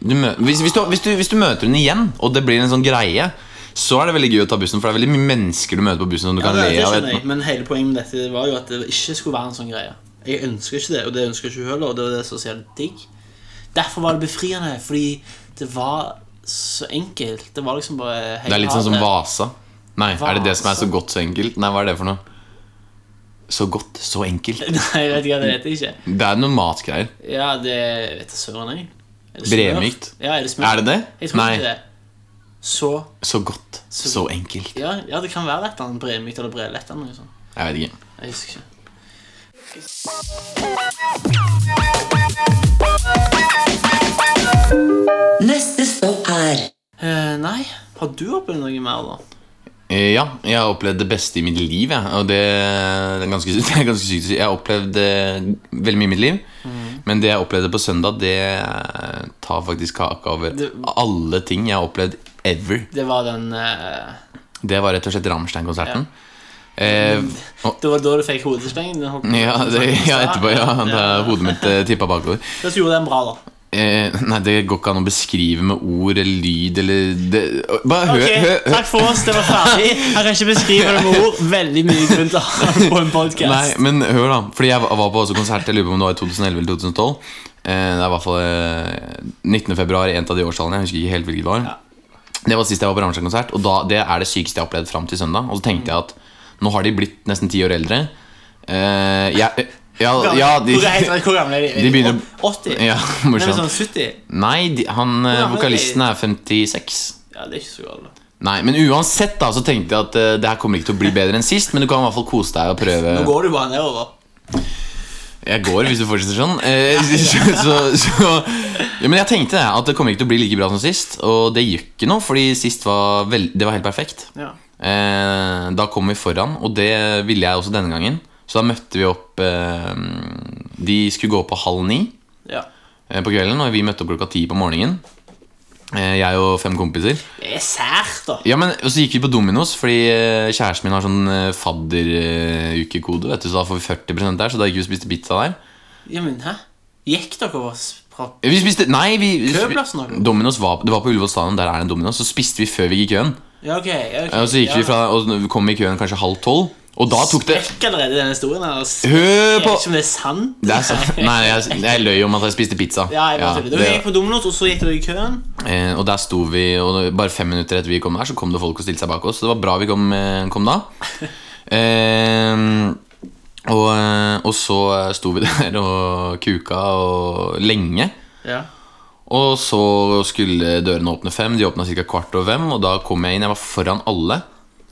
Speaker 3: Du mø hvis, hvis, du, hvis, du, hvis du møter henne igjen, og det blir en sånn greie, så er det veldig gøy å ta bussen, for det er veldig mye mennesker du møter på bussen som du
Speaker 4: ja,
Speaker 3: kan
Speaker 4: det,
Speaker 3: le
Speaker 4: det
Speaker 3: av.
Speaker 4: skjønner jeg,
Speaker 3: etterpå.
Speaker 4: Men hele poenget med dette var jo at det ikke skulle være en sånn greie. Jeg ønsker ikke det, og det ønsker ikke hun heller. Og det var det som var så jævlig digg. Derfor var det befriende, fordi det var så enkelt. Det var liksom bare hei,
Speaker 3: Det er litt
Speaker 4: ha
Speaker 3: sånn som Vasa. Nei, er det det som er
Speaker 4: Vasa?
Speaker 3: så godt, så enkelt? Nei, hva er det for noe? Så godt, så enkelt.
Speaker 4: Nei, jeg vet ikke, det vet jeg ikke.
Speaker 3: Det er noen matgreier.
Speaker 4: Ja, det vet jeg søren, jeg. Er det smør?
Speaker 3: Bremykt?
Speaker 4: Ja, er det smør?
Speaker 3: Er det det?
Speaker 4: Jeg tror
Speaker 3: Nei.
Speaker 4: ikke det. Så
Speaker 3: Så godt, så enkelt.
Speaker 4: ja, ja, det kan være et eller annet bremykt eller brelett eller noe sånt.
Speaker 3: Jeg vet ikke.
Speaker 4: Jeg husker ikke.
Speaker 2: Neste stopp er
Speaker 4: Eh, nei, har du opplevd noe mer, da?
Speaker 3: Eh, Ja, jeg har opplevd det beste i mitt liv. Jeg. Og det det er ganske, det er ganske sykt å si. Jeg har opplevd eh, veldig mye i mitt liv.
Speaker 4: Mm.
Speaker 3: Men det jeg opplevde på søndag, det eh, tar faktisk kaka over
Speaker 4: Det-
Speaker 3: alle ting jeg har opplevd ever.
Speaker 4: Det var den eh,
Speaker 3: Det var rett og slett Rammstein-konserten. Eh, og,
Speaker 4: Det var da du fikk hodespengen? den holdt-
Speaker 3: ja, det, ja, etterpå. Ja, da
Speaker 4: Ja.
Speaker 3: hodet mitt eh, tippa bakover.
Speaker 4: Det som gjorde den bra, da.
Speaker 3: Eh, nei, det går ikke an å beskrive med ord eller lyd eller det, Bare hør,
Speaker 4: Ok,
Speaker 3: hør, hør.
Speaker 4: Takk for oss, det var ferdig. Jeg kan ikke beskrive det med ord. Veldig mye grunn til å ha det på en
Speaker 3: Nei,
Speaker 4: podkast.
Speaker 3: men hør da Fordi jeg var på også konsert Jeg lurer på om det var i 2011 eller 2012 eh, Det er i hvert fall eh, 19. februar En av de årstallene Jeg husker ikke helt hvilket det var Det var sist jeg var på Rammstein-konsert Og da, det er det sykeste jeg har opplevd frem til søndag Og så tenkte jeg at Nå har de blitt nesten 10 år eldre eh, jeg, ja, ja, de,
Speaker 4: Hvor er- hvor gamle er de?
Speaker 3: De begynner-
Speaker 4: 80?
Speaker 3: Ja,
Speaker 4: Nei, men sånn
Speaker 3: morsomt
Speaker 4: 70?
Speaker 3: Nei, de, han, eh,
Speaker 4: Hvor gammel er de?
Speaker 3: vokalisten er 56
Speaker 4: Ja, det er ikke så galt. da.
Speaker 3: Nei, men uansett da Så tenkte jeg at eh, Det her kommer ikke til å bli bedre enn sist Men du kan i hvert fall kose deg og prøve
Speaker 4: Nå går du bare nedover.
Speaker 3: Jeg går hvis du fortsetter sånn. Eh, så, så, så, ja, men jeg tenkte det, at det kommer ikke til å bli like bra som sist. Og det gjør ikke noe, fordi sist var vel, det var helt perfekt.
Speaker 4: Ja.
Speaker 3: Eh, da kom vi foran, og det ville jeg også denne gangen. Så da møtte vi opp eh, De skulle gå opp på halv ni
Speaker 4: ja.
Speaker 3: eh, på kvelden, og vi møtte opp klokka ti på morgenen. Eh, jeg og fem kompiser.
Speaker 4: Det er sært, da.
Speaker 3: Ja, men Og så gikk vi på Dominos, fordi eh, kjæresten min har sånn eh, fadderukekode, vet du, så da får vi 40 der, så da gikk vi og spiste pizza der.
Speaker 4: Ja, men hæ? Gikk dere over s- fra
Speaker 3: Vi spiste, nei, vi
Speaker 4: Køplassen, eller?
Speaker 3: Dominos var, Det var på Ullevål stadion, der er det en Dominos. Så spiste vi før vi gikk i køen. Eh,
Speaker 4: Ja, ok. Ja, ok.
Speaker 3: Og så gikk
Speaker 4: ja.
Speaker 3: vi fra, og kom vi i køen kanskje halv tolv. Og da tok det
Speaker 4: Sprekk allerede i denne historien. her, ass. Jeg
Speaker 3: Hør
Speaker 4: vet
Speaker 3: på!
Speaker 4: ikke om det er sant.
Speaker 3: Det er sant. Nei, jeg, jeg løy om at jeg spiste pizza.
Speaker 4: Ja, jeg bare tuller. Dere gikk
Speaker 3: det,
Speaker 4: på Domino's, og så gikk dere i køen.
Speaker 3: eh, og der sto vi, og bare fem minutter etter vi kom der, så kom det folk og stilte seg bak oss. Så det var bra vi kom, eh, kom da. Eh, og, eh, og så sto vi der og kuka og lenge.
Speaker 4: Ja.
Speaker 3: Og så skulle dørene åpne fem. De åpna ca. kvart over fem, og da kom jeg inn. Jeg var foran alle.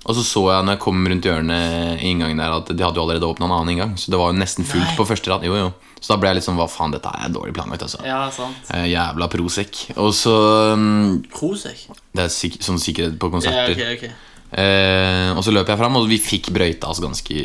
Speaker 3: Og så så jeg når jeg kom rundt hjørnet i inngangen der at de hadde jo allerede åpna en annen inngang. Så det var jo nesten fullt
Speaker 4: Nei.
Speaker 3: på første rad. Jo, jo. Så da ble jeg litt sånn Hva faen, dette er dårlig planlagt, altså.
Speaker 4: ja, sant.
Speaker 3: Eh, jævla Prosec. Og så mm,
Speaker 4: Prosek.
Speaker 3: Det er sik sånn sikkerhet på
Speaker 4: Ja,
Speaker 3: konserter.
Speaker 4: ok, ok.
Speaker 3: Eh, og så løp jeg fram, og vi fikk brøyta oss ganske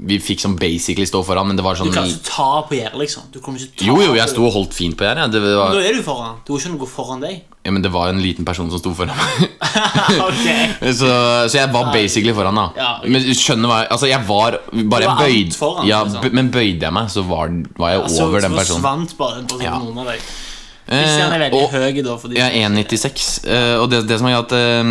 Speaker 3: Vi fikk sånn basically stå foran, men det var
Speaker 4: Du
Speaker 3: sånn
Speaker 4: kan ikke ta på gjerdet, liksom. Du kommer ikke ta
Speaker 3: Jo, jo, jeg
Speaker 4: på-
Speaker 3: sto og holdt fint på gjerdet. jeg. Det,
Speaker 4: Da
Speaker 3: var-
Speaker 4: er du foran. Du har ikke noe foran deg.
Speaker 3: ja, men det var en liten person som sto foran meg.
Speaker 4: ok
Speaker 3: Så, så jeg var basically foran, da.
Speaker 4: Ja, ok.
Speaker 3: Men skjønner hva jeg- Altså, jeg var Bare
Speaker 4: Du
Speaker 3: jeg
Speaker 4: var
Speaker 3: bøyd
Speaker 4: alt foran,
Speaker 3: ja,
Speaker 4: liksom.
Speaker 3: b- Men bøyde jeg meg, så var, var jeg
Speaker 4: Altså,
Speaker 3: over den
Speaker 4: Så
Speaker 3: personen.
Speaker 4: forsvant bare den personen
Speaker 3: Ja.
Speaker 4: under deg. Kristian er
Speaker 3: Eh,
Speaker 4: veldig
Speaker 3: og
Speaker 4: høy, da. Fordi,
Speaker 3: jeg er 1,96, eh, og det, det som er at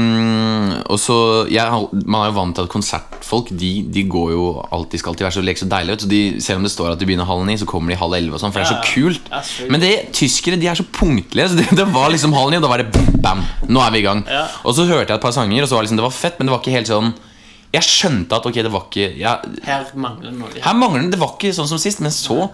Speaker 3: eh, Og så jeg, har- Man er jo vant til at konsertfolk De, de går jo alltid, skal alltid være så leke så deilige ut. Så de, Selv om det står at de begynner halv ni, så kommer de halv elleve. og sånn, For det er så
Speaker 4: Ja, ja.
Speaker 3: kult.
Speaker 4: Ja, selvfølgelig.
Speaker 3: Men det, tyskere de er så punktlige. Så det, det var liksom halv ni, og da var det bam, bam. Nå er vi i gang.
Speaker 4: Ja.
Speaker 3: Og så hørte jeg et par sanger, og så var liksom, det var fett, men det var ikke helt sånn Jeg skjønte at ok, det var ikke jeg,
Speaker 4: Her mangler det noe.
Speaker 3: her mangler den, Det var ikke sånn som sist, men så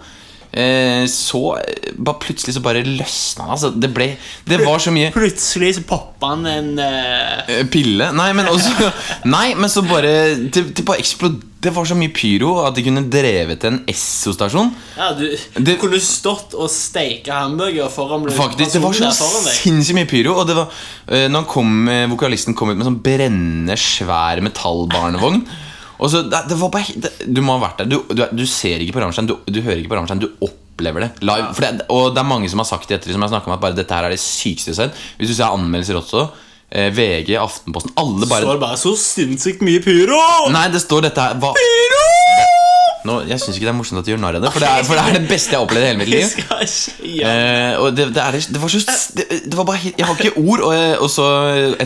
Speaker 3: eh, Så eh, bare plutselig så bare løsna det. Altså, det ble Det var så mye
Speaker 4: Plutselig så popper han en eh,
Speaker 3: eh, pille Nei, men også Nei, men så bare Det, det bare eksplod... Det var så mye pyro at de kunne drevet en Esso-stasjon.
Speaker 4: Ja, du
Speaker 3: Det-
Speaker 4: kunne stått og steika hamburger foran ble-
Speaker 3: Faktisk, Det var
Speaker 4: personen
Speaker 3: så
Speaker 4: der foran deg.
Speaker 3: sinnssykt mye pyro. Og det var eh, Når han kom, eh, vokalisten kom ut med sånn brennende, svær metallbarnevogn. Og så, det, det var bare he- det, Du må ha vært der. Du, du, er- du ser ikke på Rammstein, du, du hører ikke på Rammstein, du opplever det live. For det, og det er mange som har sagt det etter som jeg snakket om at bare dette her er det sykeste jeg har sett. Hvis du ser anmeldelser også, eh, VG, Aftenposten, alle
Speaker 4: Så
Speaker 3: bare
Speaker 4: var det bare så sinnssykt mye pyro!
Speaker 3: Nei, det står dette her hva,
Speaker 4: Pyro!
Speaker 3: nå, Jeg syns ikke det er morsomt at de gjør narr av det, for det, er, for det er det beste jeg har opplevd i hele mitt
Speaker 4: Jeg
Speaker 3: liv.
Speaker 4: skal ikke ja.
Speaker 3: Eh, og det, det, er, det var så det, det var bare helt, Jeg har ikke ord. Og, og så,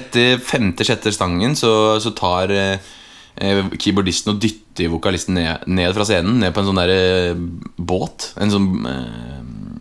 Speaker 3: etter femte-sjette stangen, så, så tar eh, eh, keyboardisten og dytter vokalisten ned, ned fra scenen. Ned på en sånn der eh, båt. En sånn eh,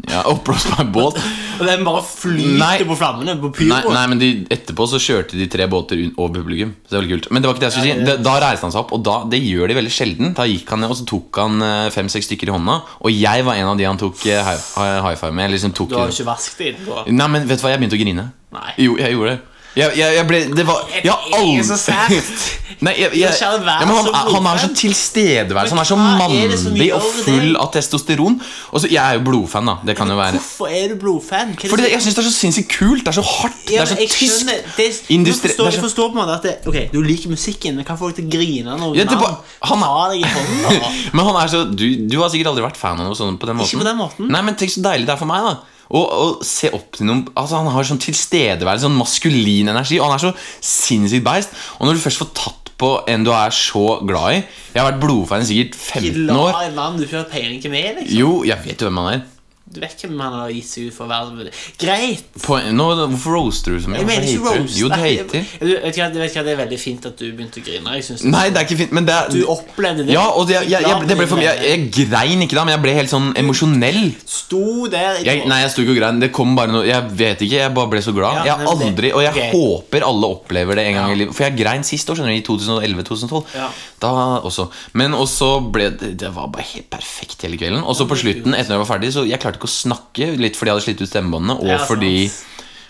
Speaker 3: ja, oppblåsbar båt.
Speaker 4: Og den bare flyter
Speaker 3: Nei.
Speaker 4: på flammene på
Speaker 3: Nei,
Speaker 4: pyroen.
Speaker 3: nei, men de, etterpå så kjørte de tre båter un- over publikum. Så det var litt kult Men det var ikke det jeg skulle si. Da, da reiste han seg opp, og da, det gjør de veldig sjelden. Da gikk han ned, og så tok han eh, fem-seks stykker i hånda. Og jeg var en av de han tok eh, high, high- high five med. Jeg Liksom tok,
Speaker 4: Du har jo ikke vasket deg etterpå.
Speaker 3: Nei, men vet du hva, jeg begynte å grine.
Speaker 4: Nei.
Speaker 3: Jo, jeg gjorde det. Jeg, jeg, jeg ble Det var Jeg har
Speaker 4: Det er
Speaker 3: aldri
Speaker 4: så sært.
Speaker 3: Nei, jeg, jeg,
Speaker 4: Jeg skal være
Speaker 3: ja, men han,
Speaker 4: så
Speaker 3: er- han er så
Speaker 4: blodfan.
Speaker 3: tilstedeværelse. Han er så
Speaker 4: Men hva er det som
Speaker 3: mandig
Speaker 4: gjør
Speaker 3: og
Speaker 4: det?
Speaker 3: full av testosteron. Og så, Jeg er jo blodfan, da. Det kan jo være.
Speaker 4: Hvorfor er du blodfan? Hva er det
Speaker 3: Fordi
Speaker 4: som-
Speaker 3: det- jeg syns det er så sinnssykt kult. Det er så hardt. Det
Speaker 4: Ja,
Speaker 3: er så
Speaker 4: men jeg
Speaker 3: tysk.
Speaker 4: skjønner, det er,
Speaker 3: industri-
Speaker 4: jeg forstår,
Speaker 3: det er så-
Speaker 4: jeg forstår på en måte at det, Ok, du liker musikken, men kan få deg til å grine når
Speaker 3: Ja, det er
Speaker 4: navn
Speaker 3: bare- han er-
Speaker 4: tar deg i hånden. da.
Speaker 3: Men han er så du, du har sikkert aldri vært fan av noe sånt på den måten.
Speaker 4: Ikke på den måten.
Speaker 3: Nei, men Tenk så deilig det er for meg. da Å å se opp til noen Altså Han har sånn tilstedeværelse, sånn maskulin energi. Og han er så sinnssykt beist. Og når du først får tatt på en du er så glad i Jeg har vært blodfan i sikkert 15
Speaker 4: La
Speaker 3: år.
Speaker 4: en mann du ikke har peiling hvem er, liksom.
Speaker 3: Jo, jeg vet jo hvem han er.
Speaker 4: Du vet hvem han har gitt seg ut for å være Greit!
Speaker 3: På, nå, hvorfor roaster du så mye?
Speaker 4: Jeg mener ikke
Speaker 3: Hvorfor hater du?
Speaker 4: roast.
Speaker 3: Jo, du
Speaker 4: Jeg-
Speaker 3: hater.
Speaker 4: Du vet ikke hva, du vet hva, Det er veldig fint at du begynte å grine. Jeg synes
Speaker 3: Nei, det er ikke fint, men det er
Speaker 4: Du opplevde det.
Speaker 3: Ja, og det, jeg, jeg, jeg, det ble for mye. Jeg, jeg grein ikke da, men jeg ble helt sånn emosjonell.
Speaker 4: Sto der i
Speaker 3: Jeg, nei, jeg sto ikke og grein. Det kom bare noe Jeg vet ikke. Jeg bare ble så glad.
Speaker 4: Ja,
Speaker 3: jeg har
Speaker 4: men det-
Speaker 3: aldri Og jeg
Speaker 4: ok.
Speaker 3: håper alle opplever det en gang
Speaker 4: Ja.
Speaker 3: i livet. For jeg grein sist år, skjønner du. I 2011-2012.
Speaker 4: Ja.
Speaker 3: Da også. Men også ble det Det var bare helt perfekt hele kvelden. Og så på slutten, etter at jeg var ferdig, så jeg klarte ikke å snakke. Litt fordi jeg hadde slitt ut stemmebåndene, og
Speaker 4: Ja, sant.
Speaker 3: fordi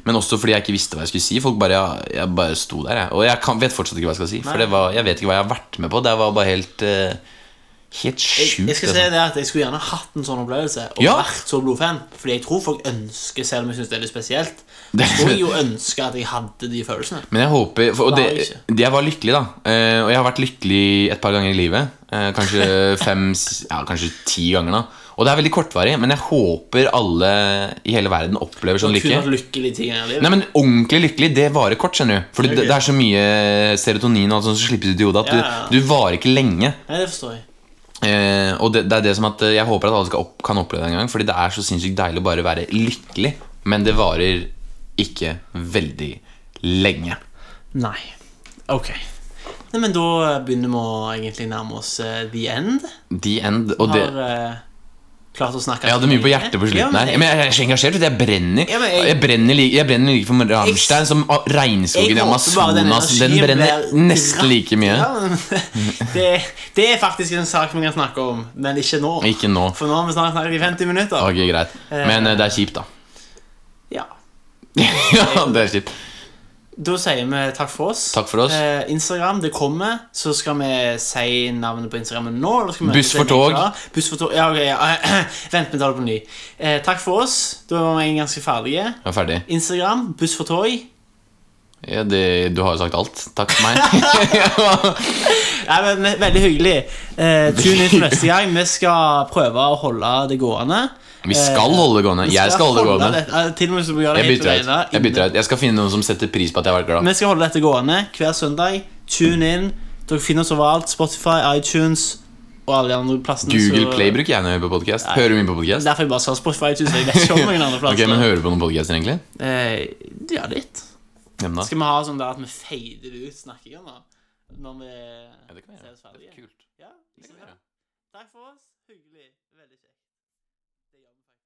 Speaker 3: men også fordi jeg ikke visste hva jeg skulle si. Folk bare, jeg, jeg bare sto der, jeg. Og jeg kan, vet fortsatt ikke hva jeg skal si. For
Speaker 4: Nei.
Speaker 3: det var, jeg vet ikke hva jeg har vært med på. Det var bare helt eh, Helt
Speaker 4: Jeg,
Speaker 3: sjukt.
Speaker 4: jeg skal si
Speaker 3: altså.
Speaker 4: det at jeg skulle gjerne hatt en sånn opplevelse og
Speaker 3: Ja.
Speaker 4: vært så blodfan. Fordi jeg tror folk ønsker, selv om jeg syns det er litt spesielt,
Speaker 3: Det-
Speaker 4: tror jeg jo ønske at jeg hadde de følelsene.
Speaker 3: Men jeg håper for, Og
Speaker 4: Det er
Speaker 3: det,
Speaker 4: jo
Speaker 3: det jeg var lykkelig, da. Eh, og jeg har vært lykkelig et par ganger i livet. Eh, kanskje fem s- Ja, kanskje ti ganger, da. Og det er veldig kortvarig, men jeg håper alle i hele verden opplever sånn
Speaker 4: Kun
Speaker 3: lykke.
Speaker 4: vært lykkelig ti ganger i livet.
Speaker 3: Nei, men Ordentlig lykkelig det varer kort. skjønner du Fordi
Speaker 4: Ok.
Speaker 3: det, det er så mye serotonin og alt sånt som slippes ut i hodet at
Speaker 4: Ja, ja.
Speaker 3: du, du varer ikke lenge.
Speaker 4: Nei, det forstår jeg.
Speaker 3: Eh, og det, det er det som at eh, jeg håper at alle skal opp, kan oppleve det en gang, fordi det er så sinnssykt deilig å bare være lykkelig. Men det varer ikke veldig lenge.
Speaker 4: Nei. Ok. Nei, men da begynner vi å egentlig nærme oss eh, the end.
Speaker 3: The end. Og det,
Speaker 4: Har eh, klart å snakke
Speaker 3: Jeg hadde mye på hjertet på slutten
Speaker 4: Ja, men
Speaker 3: her. Men jeg er så engasjert. vet du. Jeg brenner.
Speaker 4: Ja, men
Speaker 3: jeg,
Speaker 4: jeg-
Speaker 3: brenner like, jeg brenner like for Rammstein som a-
Speaker 4: jeg
Speaker 3: regnskogen i
Speaker 4: håper bare den
Speaker 3: Amazonas. Den
Speaker 4: energien
Speaker 3: brenner
Speaker 4: blir
Speaker 3: nesten like mye.
Speaker 4: Ja, men det, det er faktisk en sak vi kan snakke om, men ikke nå.
Speaker 3: Ikke nå.
Speaker 4: For nå har vi snart snakket i 50 minutter.
Speaker 3: Ok, greit. Men eh, det er kjipt, da.
Speaker 4: Ja.
Speaker 3: ja, det er kjipt.
Speaker 4: Da sier vi takk for oss.
Speaker 3: Takk for oss.
Speaker 4: Eh, Instagram, det kommer. Så skal vi si navnet på Instagrammen nå. Eller skal vi
Speaker 3: Buss
Speaker 4: møtes
Speaker 3: for
Speaker 4: en uke
Speaker 3: tog.
Speaker 4: da? Buss for tog. Ja, ok, ja. Vent, vi tar det på ny. Eh, takk for oss. Da var vi ganske ferdige.
Speaker 3: Jeg er ferdig.
Speaker 4: Instagram, buss for tog.
Speaker 3: Ja, det, du har jo sagt alt. Takk for meg.
Speaker 4: Nei, men ve- Veldig hyggelig. Eh, tune inn til neste gang. Vi skal prøve å holde det gående. Eh,
Speaker 3: Vi skal holde det gående.
Speaker 4: Vi
Speaker 3: Jeg skal holde det gående.
Speaker 4: dette- eh, Til og med hvis du må gjøre det
Speaker 3: Jeg
Speaker 4: helt
Speaker 3: bytter ut.
Speaker 4: alene.
Speaker 3: Jeg bytter ut Jeg skal finne noen som setter pris på at jeg har vært glad.
Speaker 4: Vi skal holde dette gående hver søndag. Tune inn. Dere finner oss overalt. Spotify, iTunes og alle de andre plassene.
Speaker 3: Google
Speaker 4: så-
Speaker 3: Play bruker jeg når jeg hører på podcast Hører du mye på podcast?
Speaker 4: Derfor jeg bare sa Spotify, iTunes. Jeg vet ikke om noen andre
Speaker 3: Ok,
Speaker 4: plasser.
Speaker 3: men hører du på noen podcaster egentlig?
Speaker 4: eh, ja, litt.
Speaker 3: Hvem da?
Speaker 4: Skal vi ha sånn der at vi fader ut snakkinga nå? Når vi
Speaker 3: det kan vi
Speaker 4: ser
Speaker 3: gjøre.
Speaker 4: oss ferdige?
Speaker 3: Kult.
Speaker 4: Ja,
Speaker 3: Det kan vi gjøre.
Speaker 4: Takk for oss. Hyggelig. Veldig kjekt. Det gjør vi faktisk.